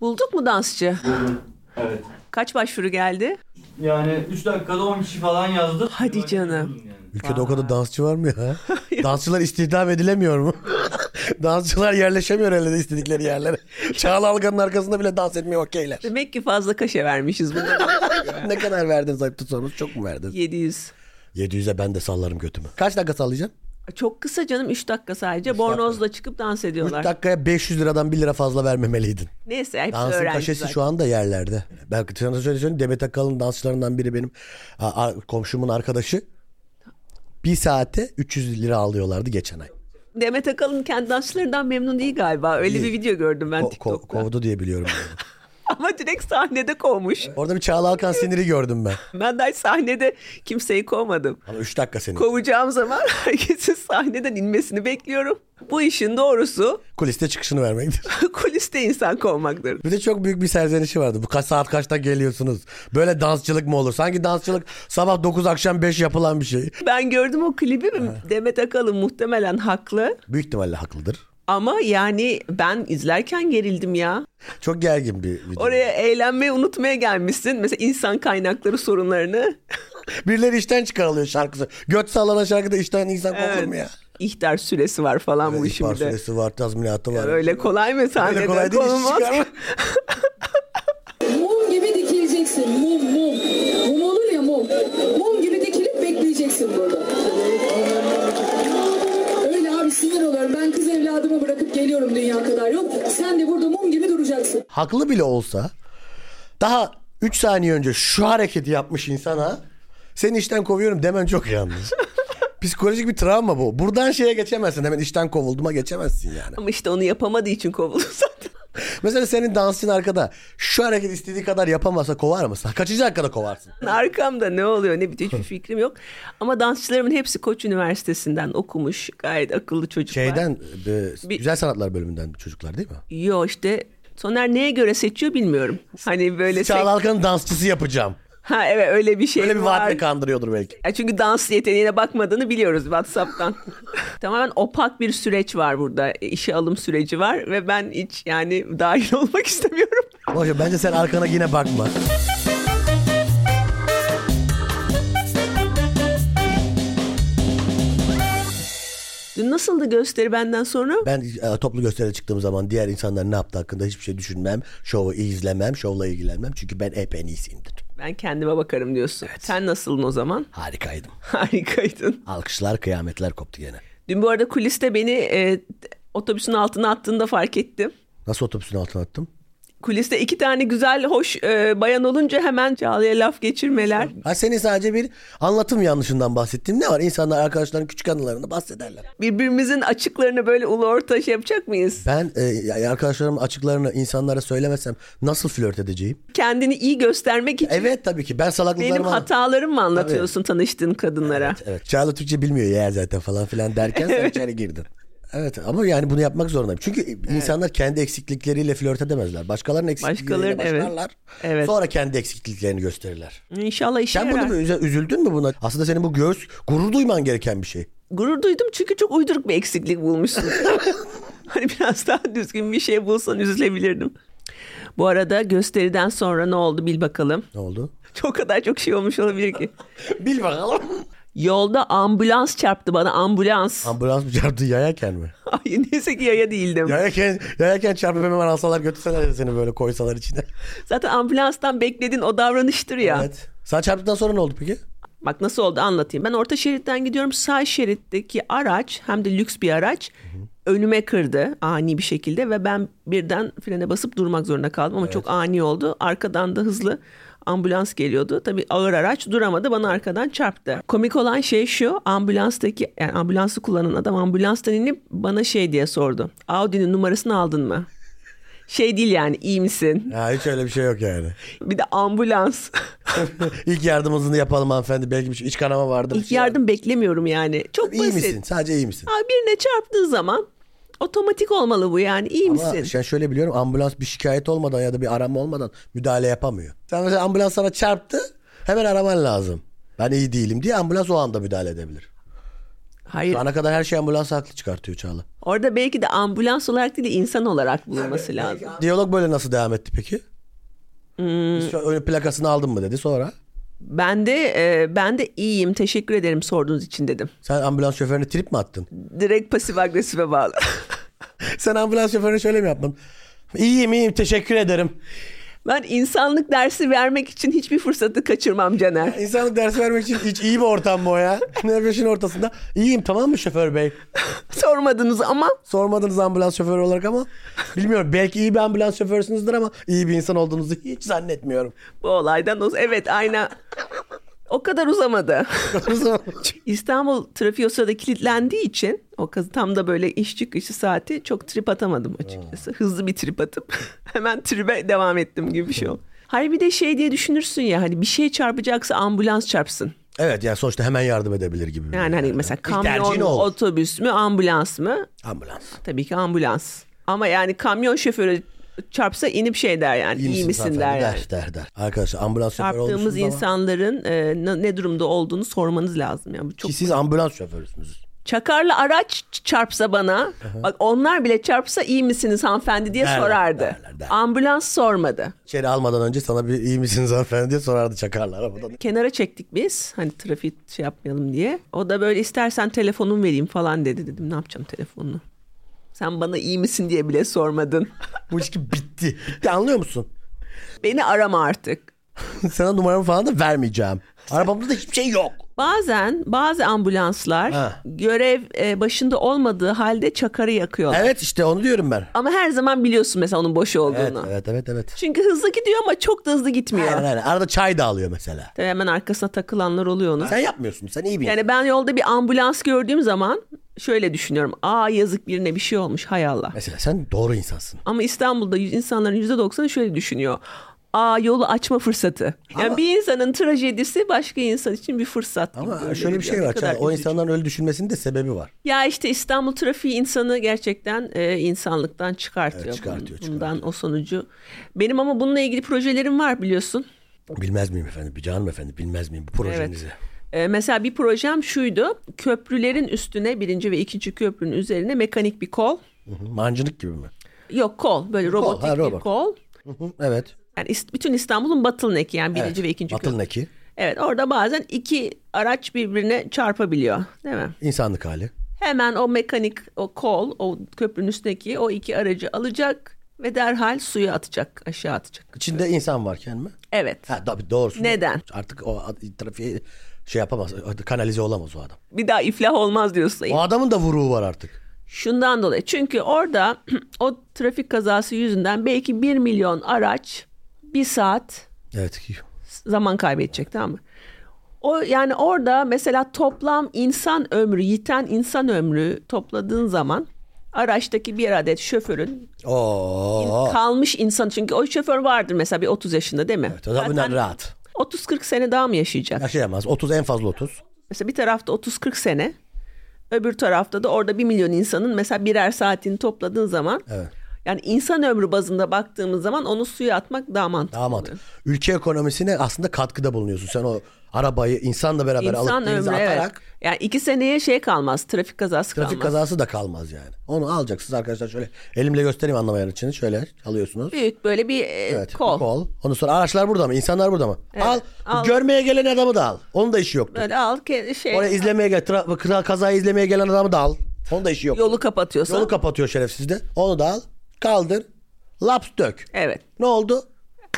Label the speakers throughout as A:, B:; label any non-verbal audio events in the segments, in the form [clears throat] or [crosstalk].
A: Bulduk mu dansçı?
B: Evet.
A: Kaç başvuru geldi?
B: Yani 3 dakikada 10 kişi falan yazdı.
A: Hadi
B: Yani
A: canım.
B: yani.
C: Ülkede o kadar dansçı var
A: [laughs]
C: mı ya? Dansçılar istihdam edilemiyor mu? Dansçılar yerleşemiyor herhalde istedikleri yerlere. Çağla Algan'ın arkasında bile dans etmiyor okeyler.
A: Demek ki fazla kaşe vermişiz
C: [laughs]
A: buna.
C: ne kadar verdiniz ayıptı sorumuz çok mu verdiniz?
A: 700.
C: 700'e ben de sallarım götümü. Kaç dakika sallayacaksın?
A: Çok kısa canım 3 dakika sadece. Bornozla çıkıp dans
C: 3
A: ediyorlar.
C: dakikaya 500 liradan 1 lira fazla vermemeliydin.
A: Neyse hepsi
C: Dansın
A: öğrenci
C: kaşesi
A: zaten.
C: şu anda yerlerde. Ben sana söyleyeyim Demet Akalın dansçılarından biri benim a- a- komşumun arkadaşı. Bir saate 300 lira alıyorlardı geçen ay.
A: Demet Akalın kendi dansçılarından memnun değil galiba. Öyle bir
C: Değil.
A: video gördüm ben
C: Ko- ko-
A: TikTok'ta.
C: kovdu diye biliyorum. [laughs] yani.
A: [laughs] Ama direkt sahnede kovmuş.
C: Orada bir Çağla Alkan siniri gördüm ben.
A: Ben daha hiç sahnede kimseyi kovmadım.
C: Ama 3 dakika seni.
A: Kovacağım zaman [laughs] herkesin sahneden inmesini bekliyorum. Bu işin doğrusu [laughs]
C: Kuliste çıkışını vermektir.
A: kuliste insan kovmaktır.
C: Bir de çok büyük bir serzenişi vardı. Bu kaç saat kaçta geliyorsunuz? Böyle dansçılık mı olur? Sanki dansçılık sabah 9 akşam 5 yapılan bir şey.
A: Ben gördüm o klibi. Demet Akalın muhtemelen haklı.
C: Büyük ihtimalle haklıdır.
A: Ama yani ben izlerken gerildim ya.
C: Çok gergin bir video.
A: Oraya eğlenmeyi unutmaya gelmişsin. Mesela insan kaynakları
C: [laughs]
A: sorunlarını.
C: Birileri işten çıkarılıyor şarkısı. Göt sallanan şarkıda işten insan evet. mu ya?
A: İhtar süresi var falan bu
C: İhbar
A: işimde.
C: süresi var, tazminatı var.
A: Öyle kolay mı sahnede?
C: Öyle kolay değil iş
A: Konulmaz.
C: çıkarmak.
D: Mum gibi dikileceksin. Mum mum. Mum olur ya mum. Mum gibi dikilip bekleyeceksin burada. Öyle abi sinir oluyorum. Ben kız evladımı bırakıp geliyorum dünya kadar. Yok sen de burada mum gibi duracaksın.
C: Haklı bile olsa daha 3 saniye önce şu hareketi yapmış insana seni işten kovuyorum demen çok yanlış. Psikolojik bir travma bu. Buradan şeye geçemezsin. Hemen işten kovulduma geçemezsin yani.
A: [laughs] Ama işte onu yapamadığı için kovuldu [laughs] zaten.
C: Mesela senin dansçın arkada şu hareket istediği kadar yapamazsa kovar mısın? Kaçıncı dakikada kovarsın?
A: Arkamda ne oluyor ne bitiyor hiçbir fikrim yok. Ama dansçılarımın hepsi Koç Üniversitesi'nden okumuş. Gayet akıllı çocuklar.
C: Şeyden, e,
A: Bir-
C: güzel sanatlar bölümünden çocuklar değil mi?
A: Yo işte Soner neye göre seçiyor bilmiyorum. Hani böyle sek-
C: Çağla Alkan'ın dansçısı yapacağım.
A: Ha evet öyle bir şey
C: Öyle bir
A: var.
C: vaatle kandırıyordur belki.
A: Ya çünkü dans yeteneğine bakmadığını biliyoruz WhatsApp'tan. Tamamen opak bir süreç var burada. İşe alım süreci var ve ben hiç yani dahil [laughs] olmak istemiyorum.
C: Boşver, bence sen arkana yine bakma.
A: Dün nasıldı gösteri benden sonra?
C: Ben e, toplu gösteriye çıktığım zaman diğer insanlar ne yaptı hakkında hiçbir şey düşünmem. Şovu izlemem, şovla ilgilenmem. Çünkü ben hep en iyisiyimdir.
A: Ben kendime bakarım diyorsun. Sen nasıldın o zaman? [laughs]
C: Harikaydım.
A: Harikaydın.
C: Alkışlar, kıyametler koptu gene.
A: Dün bu arada kuliste beni e, otobüsün altına attığında fark ettim.
C: Nasıl otobüsün altına attım?
A: Kuliste iki tane güzel, hoş e, bayan olunca hemen Çağla'ya laf geçirmeler.
C: Ha senin sadece bir anlatım yanlışından bahsettiğim ne var? İnsanlar arkadaşların küçük anılarını bahsederler.
A: Birbirimizin açıklarını böyle ulu orta şey yapacak mıyız?
C: Ben e, ya- arkadaşlarımın açıklarını insanlara söylemesem nasıl flört edeceğim?
A: Kendini iyi göstermek için
C: Evet tabii ki ben salaklıklarımı...
A: benim hatalarımı mı anlatıyorsun tanıştığın kadınlara?
C: Evet. Çağla Türkçe bilmiyor ya zaten falan filan
A: [laughs]
C: derken sen içeri girdin. Evet ama yani bunu yapmak zorundayım. Çünkü insanlar kendi eksiklikleriyle flört edemezler. Başkalarının eksiklikleriyle
A: Başkalarının- evet.
C: başlarlar.
A: Evet.
C: Sonra kendi eksikliklerini gösterirler.
A: İnşallah işe
C: Sen
A: yarar.
C: bunu üze- üzüldün mü buna? Aslında senin bu göğüs gurur duyman gereken bir şey.
A: Gurur duydum çünkü çok uyduruk bir eksiklik
C: [laughs]
A: bulmuşsun. hani biraz daha düzgün bir şey bulsan üzülebilirdim. Bu arada gösteriden sonra ne oldu bil bakalım. [laughs]
C: Ne oldu?
A: Çok kadar çok şey olmuş olabilir ki.
C: Bil bakalım.
A: Yolda ambulans çarptı bana ambulans.
C: Ambulans mı çarptı yayarken mi?
A: [laughs] Ay neyse ki yaya değildim.
C: Yayarken, yayarken çarpıp hemen alsalar götürseler de seni böyle koysalar içine.
A: Zaten ambulanstan bekledin o davranıştır ya.
C: Evet. Sen çarptıktan sonra ne oldu peki?
A: Bak nasıl oldu anlatayım. Ben orta şeritten gidiyorum. Sağ şeritteki araç hem de lüks bir araç önüme kırdı ani bir şekilde ve ben birden frene basıp durmak zorunda kaldım ama çok ani oldu. Arkadan da hızlı ambulans geliyordu. Tabii ağır araç duramadı bana arkadan çarptı. Komik olan şey şu ambulanstaki yani ambulansı kullanan adam ambulanstan inip bana şey diye sordu. Audi'nin numarasını aldın mı? Şey değil yani iyi misin?
C: Ya hiç öyle bir şey yok yani.
A: [laughs] Bir de ambulans.
C: İlk yardımımızı yapalım hanımefendi. Belki bir şey, iç kanama vardır.
A: [laughs]
C: bir
A: İlk
C: şey vardır.
A: yardım beklemiyorum yani. Çok
C: İyi
A: basit.
C: misin? Sadece iyi misin?
A: Aa, birine çarptığı zaman otomatik olmalı bu yani. İyi
C: Ama şey,
A: misin?
C: ben şöyle biliyorum ambulans bir şikayet olmadan ya da bir arama olmadan müdahale yapamıyor. Sen mesela ambulans sana çarptı hemen araman lazım. Ben iyi değilim diye ambulans o anda müdahale edebilir.
A: Hayır.
C: Şu ana kadar her şey ambulans haklı çıkartıyor Çağla.
A: Orada belki de ambulans olarak değil de insan olarak bulunması lazım.
C: Diyalog böyle nasıl devam etti peki? Biz şu- öyle plakasını aldın mı dedi sonra.
A: Ben de e, ben de iyiyim. Teşekkür ederim sorduğunuz için dedim.
C: Sen ambulans şoförüne trip mi [laughs] attın?
A: Direkt pasif agresife bağlı. [laughs]
C: Sen ambulans şoförüne şöyle mi yaptın? İyiyim iyiyim teşekkür ederim.
A: ben insanlık dersi vermek için hiçbir fırsatı kaçırmam Caner.
C: İnsanlık ders vermek için hiç iyi bir ortam bu o [laughs] ya. Nefesin ortasında. İyiyim tamam mı şoför bey?
A: Sormadınız ama
C: Sormadınız ambulans şoförü olarak ama bilmiyorum. Belki iyi bir ambulans şoförsünüzdür ama iyi bir insan olduğunuzu hiç zannetmiyorum.
A: bu olaydan o- evet aynen o kadar uzamadı. [laughs] İstanbul trafiği o sırada kilitlendiği için o kız tam da böyle iş çıkışı saati çok trip atamadım açıkçası.
C: Hmm.
A: Hızlı bir trip atıp [laughs] hemen tribe devam ettim gibi bir şey
C: [laughs]
A: oldu. Hayır bir de şey diye düşünürsün ya hani bir şey çarpacaksa ambulans çarpsın.
C: [laughs] evet yani sonuçta hemen yardım edebilir gibi. bir
A: Yani hani mesela
C: Bir tercihin
A: kamyon mu,
C: oldu.
A: otobüs mü, ambulans mı?
C: Ambulans.
A: Tabii ki ambulans. Ama yani kamyon şoförü çarpsa inip şey der yani.
C: İyi misin,
A: misin
C: hanımefendi?
A: der yani.
C: der, der, der. Arkadaşlar ambulans şoförü
A: Çarptığımız
C: olmuşsunuz ama
A: insanların e, ne- ne durumda olduğunu sormanız lazım. Yani bu çok
C: ki siz ambulans şoförüsünüz.
A: Çakarlı araç ç- çarpsa bana, bak onlar bile çarpsa iyi misiniz hanımefendi diye
C: Derler,
A: sorardı.
C: derler, derler.
A: Ambulans sormadı.
C: İçeri almadan önce sana bir iyi misiniz hanımefendi diye sorardı çakarlar arabadan.
A: Kenara çektik biz hani trafik şey yapmayalım diye. O da böyle istersen telefonumu vereyim falan dedi. Dedim ne yapacağım telefonunu? Sen bana iyi misin diye bile sormadın. [laughs]
C: Bu ilişki bitti. Bitti anlıyor musun? [laughs]
A: Beni arama artık.
C: Sana numaramı falan da vermeyeceğim. Arabamda da hiçbir şey yok.
A: Bazen bazı ambulanslar
C: Ha.
A: görev e, başında olmadığı halde çakarı yakıyorlar.
C: Evet işte onu diyorum ben.
A: Ama her zaman biliyorsun mesela onun boş olduğunu.
C: Evet evet evet evet.
A: Çünkü hızlı gidiyor ama çok da hızlı gitmiyor.
C: Aynen, aynen. Arada çay da alıyor mesela.
A: Tabii hemen arkasına takılanlar oluyor onun.
C: Sen yapmıyorsun. Sen iyi bir
A: Yani ben yolda bir ambulans gördüğüm zaman şöyle düşünüyorum. Aa yazık birine bir şey olmuş hay Allah.
C: Mesela sen doğru insansın.
A: Ama İstanbul'da yüz- insanların %90'ı şöyle düşünüyor. Aa yolu açma fırsatı. Yani bir insanın trajedisi başka insan için bir fırsat. gibi
C: Ama
A: görülebiliyor.
C: şöyle bir şey
A: Ne
C: var.
A: kadar
C: Çağla, o
A: üzücü.
C: insanların öyle düşünmesinin de sebebi var.
A: Ya işte İstanbul trafiği insanı gerçekten e, insanlıktan çıkartıyor.
C: Evet, çıkartıyor,
A: Bundan o sonucu. Benim ama bununla ilgili projelerim var biliyorsun.
C: Bilmez miyim efendim? Bir canım efendim bilmez miyim bu projenizi?
A: E, mesela bir projem şuydu. Köprülerin üstüne birinci ve ikinci köprünün üzerine mekanik bir kol.
C: Hı hı. Mancınık gibi mi?
A: Yok kol böyle robotik
C: ha,
A: bir
C: robot.
A: kol.
C: Hı hı, evet.
A: Yani is- bütün İstanbul'un bottleneck'i yani birinci ve ikinci köprü.
C: Atılnaki.
A: Evet orada bazen iki araç birbirine çarpabiliyor değil mi?
C: İnsanlık hali.
A: Hemen o mekanik o kol o köprünün üstündeki o iki aracı alacak ve derhal suya atacak aşağı atacak.
C: İçinde insan varken mi?
A: Evet
C: Ha tabii doğrusu.
A: Neden?
C: Artık o ad- trafiğe şey yapamaz. Kanalize olamaz o adam.
A: bir daha iflah olmaz diyorsun.
C: O adamın da vuruğu var artık.
A: Şundan dolayı çünkü orada [clears throat] o trafik kazası yüzünden belki 1 milyon araç bir saat
C: Evet.
A: zaman kaybedecek tamam mı? O yani orada mesela toplam insan ömrü, yiten insan ömrü topladığın zaman araçtaki bir adet şoförün
C: Oo.
A: kalmış insan çünkü o şoför vardır mesela bir 30 yaşında değil mi?
C: Evet, o da bundan rahat.
A: 30-40 sene daha mı yaşayacak?
C: Yaşayamaz. 30 en fazla 30.
A: Mesela bir tarafta 30-40 sene, öbür tarafta da orada 1 milyon insanın mesela birer saatini topladığın zaman
C: Evet.
A: yani insan ömrü bazında baktığımız zaman onu suya atmak daha mantıklı.
C: Daha mantıklı. Ülke ekonomisine aslında katkıda bulunuyorsun. Sen o arabayı insanla beraber
A: İnsan
C: alıp denize
A: ömrü evet.
C: atarak
A: Yani iki seneye şey kalmaz, trafik kazası
C: trafik
A: kalmaz.
C: kazası da kalmaz yani. Onu alacaksınız arkadaşlar şöyle elimle göstereyim anlamayan için. Şöyle alıyorsunuz.
A: Büyük böyle bir e,
C: Evet.
A: kol.
C: Kol. Ondan sonra araçlar burada mı? İnsanlar burada mı? al,
A: al.
C: Görmeye gelen adamı da al. Onun da işi yoktur.
A: Böyle al ke- şey
C: Oraya izlemeye gel. Tra- kra- kazayı izlemeye gelen adamı da al. Onun da işi yok.
A: yolu kapatıyorsun.
C: Yolu kapatıyor şerefsiz de. Onu da al. Kaldır. Laps dök.
A: evet.
C: Ne oldu?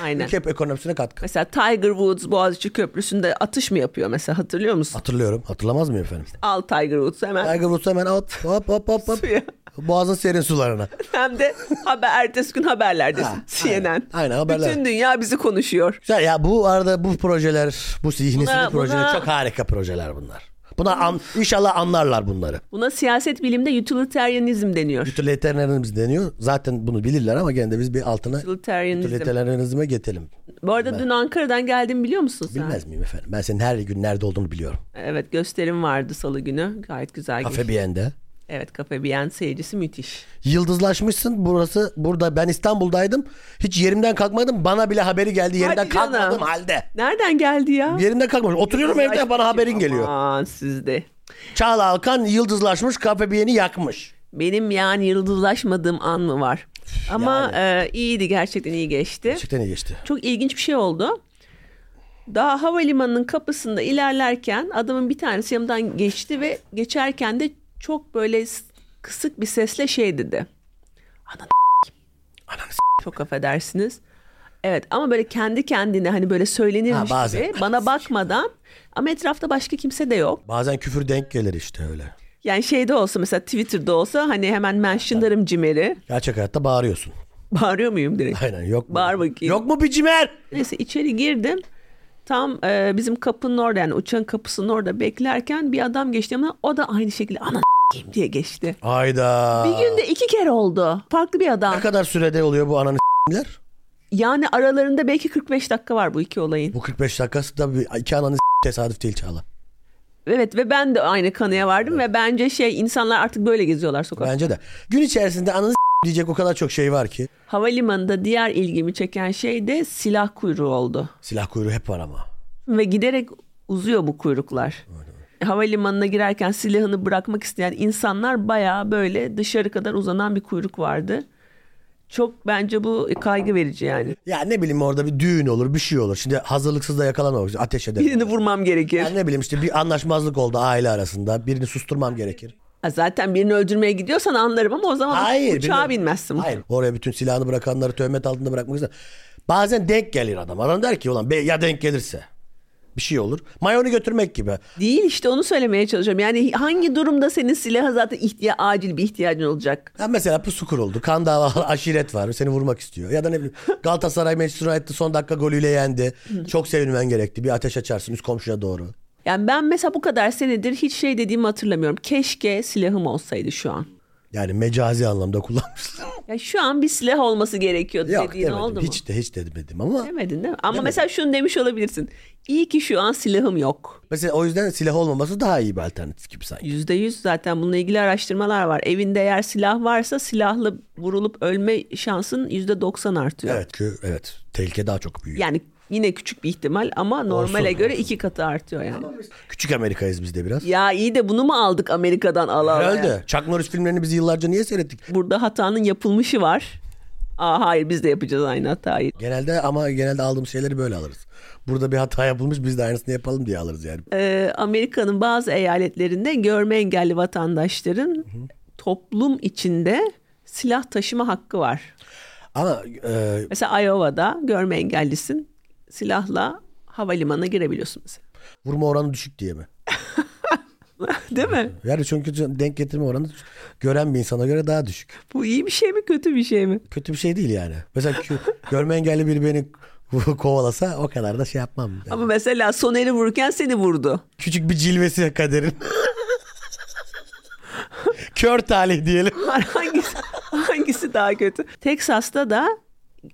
A: Aynen.
C: Ülke ekonomisine katkı.
A: Mesela Tiger Woods Boğaziçi Köprüsü'nde atış mı yapıyor mesela hatırlıyor musun?
C: Hatırlıyorum. Hatırlamaz mıyım efendim?
A: Al Tiger Woods hemen
C: Tiger Woods hemen at. Hop hop hop hop.
A: suya.
C: Boğazın serin sularına.
A: Hem de haber ertesi gün haberlerdesin.
C: Ha, aynen.
A: CNN.
C: Aynen, haberler.
A: Bütün dünya bizi konuşuyor.
C: Güzel ya bu arada bu projeler, bu zihnisiz
A: Buna-
C: projeler
A: buna-
C: çok harika projeler bunlar. Buna an, inşallah anlarlar bunları.
A: Buna siyaset bilimde utilitarianizm deniyor.
C: Utilitarianizm deniyor. Zaten bunu bilirler ama gene de biz bir altına
A: Utilitarianizm.
C: utilitarianizme getirelim.
A: Bu arada dün Ankara'dan geldim biliyor musun sen?
C: Bilmez miyim efendim? Ben senin her gün nerede olduğunu biliyorum.
A: Evet gösterim vardı salı günü. Gayet güzel geçti.
C: Kafe Bien'de.
A: Evet Kafe Bien seyircisi müthiş.
C: Yıldızlaşmışsın burası burada ben İstanbul'daydım. Hiç yerimden kalkmadım. Bana bile haberi geldi yerimden
A: Hadi canım.
C: kalkmadım halde.
A: Nereden geldi ya?
C: Yerimden kalkmadım. Oturuyorum evde bana haberin geliyor.
A: Aman sizde.
C: Çağla Alkan yıldızlaşmış KPB'ni yakmış.
A: Benim yani yıldızlaşmadığım an mı var? Ama e, iyiydi gerçekten iyi geçti.
C: Gerçekten iyi geçti.
A: Çok ilginç bir şey oldu. Daha havalimanının kapısında ilerlerken adamın bir tanesi yanımdan geçti ve geçerken de çok böyle s- kısık bir sesle şey dedi. Ananı
C: Ananı s-
A: çok affedersiniz. Evet ama böyle kendi kendine hani böyle söylenirmiş
C: Ha, bazen.
A: gibi bana bakmadan ama etrafta başka kimse de yok.
C: Bazen küfür denk gelir işte öyle.
A: Yani şeyde olsa mesela Twitter'da olsa hani hemen mentionlarım Cimer'i.
C: Gerçek hayatta bağırıyorsun. [laughs]
A: Bağırıyor muyum direkt?
C: Aynen yok mu?
A: Bağır bakayım.
C: Yok mu er? bir cimer?
A: Neyse içeri girdim. Tam e, bizim kapının orada yani uçağın kapısının orada beklerken bir adam geçti ama o da aynı şekilde ana diye geçti.
C: Ayda.
A: Bir günde iki kere oldu. Farklı bir adam.
C: Ne kadar sürede oluyor bu ananı s**ler?
A: Yani aralarında belki 45 dakika var bu iki olayın.
C: Bu 45 dakikası da bir iki ananı s- tesadüf değil Çağla.
A: Evet ve ben de aynı kanıya vardım ve bence şey insanlar artık böyle geziyorlar sokakta.
C: Bence de. Gün içerisinde ananı s- diyecek o kadar çok şey var ki.
A: Havalimanında diğer ilgimi çeken şey de silah kuyruğu oldu.
C: Silah kuyruğu hep var ama.
A: Ve giderek uzuyor bu kuyruklar. Havalimanına girerken silahını bırakmak isteyen insanlar bayağı böyle dışarı kadar uzanan bir kuyruk vardı. Çok bence bu kaygı verici yani.
C: Ya ne bileyim orada bir düğün olur bir şey olur. Şimdi hazırlıksız da yakalanmamak için ateş eder.
A: Birini vurmam gerekir.
C: Ya ne bileyim işte bir anlaşmazlık oldu aile arasında. Birini susturmam gerekir.
A: Ha, Zaten birini öldürmeye gidiyorsan anlarım ama o zaman
C: Hayır.
A: uçağa
C: bilmiyorum.
A: binmezsin.
C: Hayır. Oraya bütün silahını bırakanları töhmet altında bırakmak ister. Bazen denk gelir adam. Adam der ki ulan be, ya denk gelirse. Bir şey olur. Mayonu götürmek gibi.
A: Değil işte onu söylemeye çalışıyorum. Yani hangi durumda senin silaha zaten ihtiya acil bir ihtiyacın olacak?
C: Ya mesela pusu kuruldu. Kan davalı [laughs] aşiret var. Seni vurmak istiyor. Ya da ne bileyim Galatasaray Manchester United'ı son dakika golüyle yendi. Çok sevinmen gerekti. Bir ateş açarsın üst komşuya doğru.
A: Yani ben mesela bu kadar senedir hiç şey dediğimi hatırlamıyorum. Keşke silahım olsaydı şu an.
C: Yani mecazi
A: [laughs]
C: anlamda kullanmışlar.
A: Ya şu an bir silah olması gerekiyordu
C: Yok
A: dediğin
C: demedim.
A: oldu mu?
C: hiç de hiç de demedim ama.
A: Demedin değil mi? Ama mesela şunu demiş olabilirsin. İyi ki şu an silahım yok.
C: Mesela o yüzden silah olmaması daha iyi bir alternatif gibi sanki.
A: Yüzde yüz zaten bununla ilgili araştırmalar var. Evinde eğer silah varsa silahla vurulup ölme şansın yüzde doksan artıyor.
C: Evet. Çünkü evet. Tehlike daha çok büyüyor.
A: Yani yine küçük bir ihtimal ama normale
C: Olsun,
A: göre iki katı artıyor yani.
C: Küçük Amerika'yız biz de biraz.
A: Ya iyi de bunu mu aldık Amerika'dan ala ala?
C: Herhalde.
A: yani?
C: Chuck Norris filmlerini biz yıllarca niye seyrettik?
A: Burada hatanın yapılmışı var. Aa hayır biz de yapacağız aynı hatayı.
C: Genelde ama genelde aldığımız şeyleri böyle alırız. Burada bir hata yapılmış biz de aynısını yapalım diye alırız yani.
A: Ee, Amerika'nın bazı eyaletlerinde görme engelli vatandaşların toplum içinde silah taşıma hakkı var.
C: Ama e,
A: Mesela Iowa'da görme engellisin silahla havalimanına girebiliyorsun mesela. [laughs]
C: vurma oranı düşük diye mi?
A: Değil mi?
C: Yani çünkü denk getirme oranı gören bir insana göre daha düşük.
A: Bu iyi bir şey mi kötü bir şey mi?
C: Kötü bir şey değil yani. Mesela ki, görme engelli biri beni [laughs] kovalasa o kadar da şey yapmam. Yani.
A: Ama mesela Soner'i vururken seni vurdu. [laughs]
C: Küçük bir cilvesi kaderin. Kör talih diyelim.
A: hangisi, hangisi daha kötü? Teksas'ta da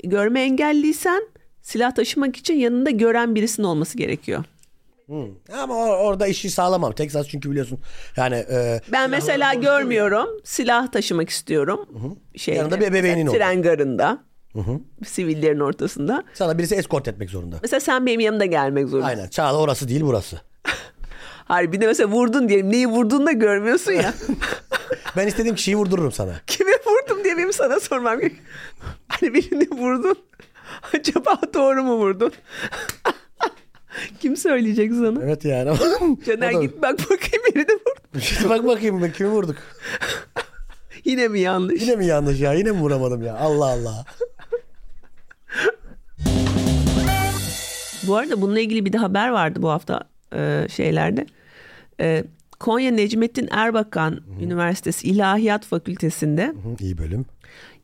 A: görme engelliysen silah taşımak için yanında gören birisinin olması gerekiyor.
C: Ama or- orada işi sağlamam. Texas çünkü biliyorsun yani e,
A: Ben mesela görmüyorum. Silah taşımak istiyorum. Şeyde,
C: Yanında bir ebeveynin
A: mesela Tren garında. Sivillerin ortasında.
C: sana birisi eskort etmek zorunda.
A: Mesela sen benim yanımda gelmek zorundasın.
C: Aynen. Çağla orası değil burası.
A: Hayır bir de mesela vurdun diyelim. Neyi vurduğunu da görmüyorsun
C: [laughs]
A: ya. [laughs]
C: Ben istediğim kişiyi vurdururum sana.
A: Kime vurdum diye benim sana sormam
C: [laughs]
A: gerekiyor. Hani birini vurdun. Acaba doğru mu vurdun? [laughs] Kim söyleyecek sana?
C: Evet yani.
A: [laughs] Caner
C: O da-
A: git bak bakayım birini vurdun.
C: Şimdi [laughs] bak bakayım ben kimi vurduk.
A: Yine mi yanlış?
C: Yine mi yanlış ya? Yine mi vuramadım ya? Allah Allah.
A: Bu arada bununla ilgili bir de haber vardı bu hafta e, şeylerde. E, Konya Necmettin Erbakan Üniversitesi İlahiyat Fakültesi'nde
C: Hı, İyi bölüm.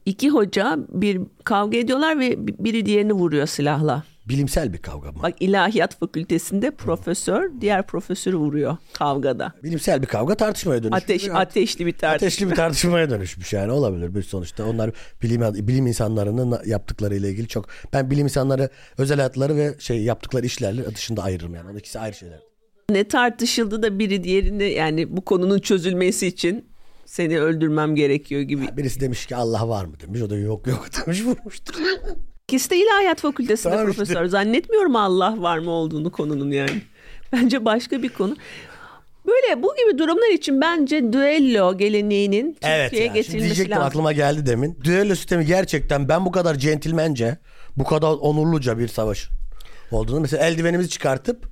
A: iki hoca bir kavga ediyorlar ve bi- biri diğerini vuruyor silahla.
C: Bilimsel bir kavga mı?
A: Bak İlahiyat Fakültesi'nde profesör diğer profesörü vuruyor kavgada.
C: Bilimsel bir kavga tartışmaya dönüşmüş.
A: Ateş
C: Bir
A: ateşli bir tartışma.
C: Ateşli bir tartışmaya dönüşmüş yani olabilir bir sonuçta. Onlar bilim bilim insanlarının na- yaptıklarıyla ilgili çok ben bilim insanları özel hayatları ve şey yaptıkları işlerle dışında ayırırım yani. Onun ikisi ayrı şeyler.
A: Ne tartışıldı da biri diğerini yani bu konunun çözülmesi için seni öldürmem gerekiyor gibi.
C: Birisi demiş ki Allah var mı demiş. O da yok yok [laughs] demiş vurmuştur.
A: İkisi de İlahiyat Fakültesi'nde
C: Tamam işte.
A: profesör. Zannetmiyorum Allah var mı olduğunu konunun yani. Bence başka bir konu. Böyle bu gibi durumlar için bence düello geleneğinin Türkiye'ye
C: Evet ya. Şimdi
A: getirilmesi
C: diyecektim
A: lazım.
C: aklıma geldi demin. Düello sistemi gerçekten ben bu kadar centilmence, bu kadar onurluca bir savaş olduğunu mesela eldivenimizi çıkartıp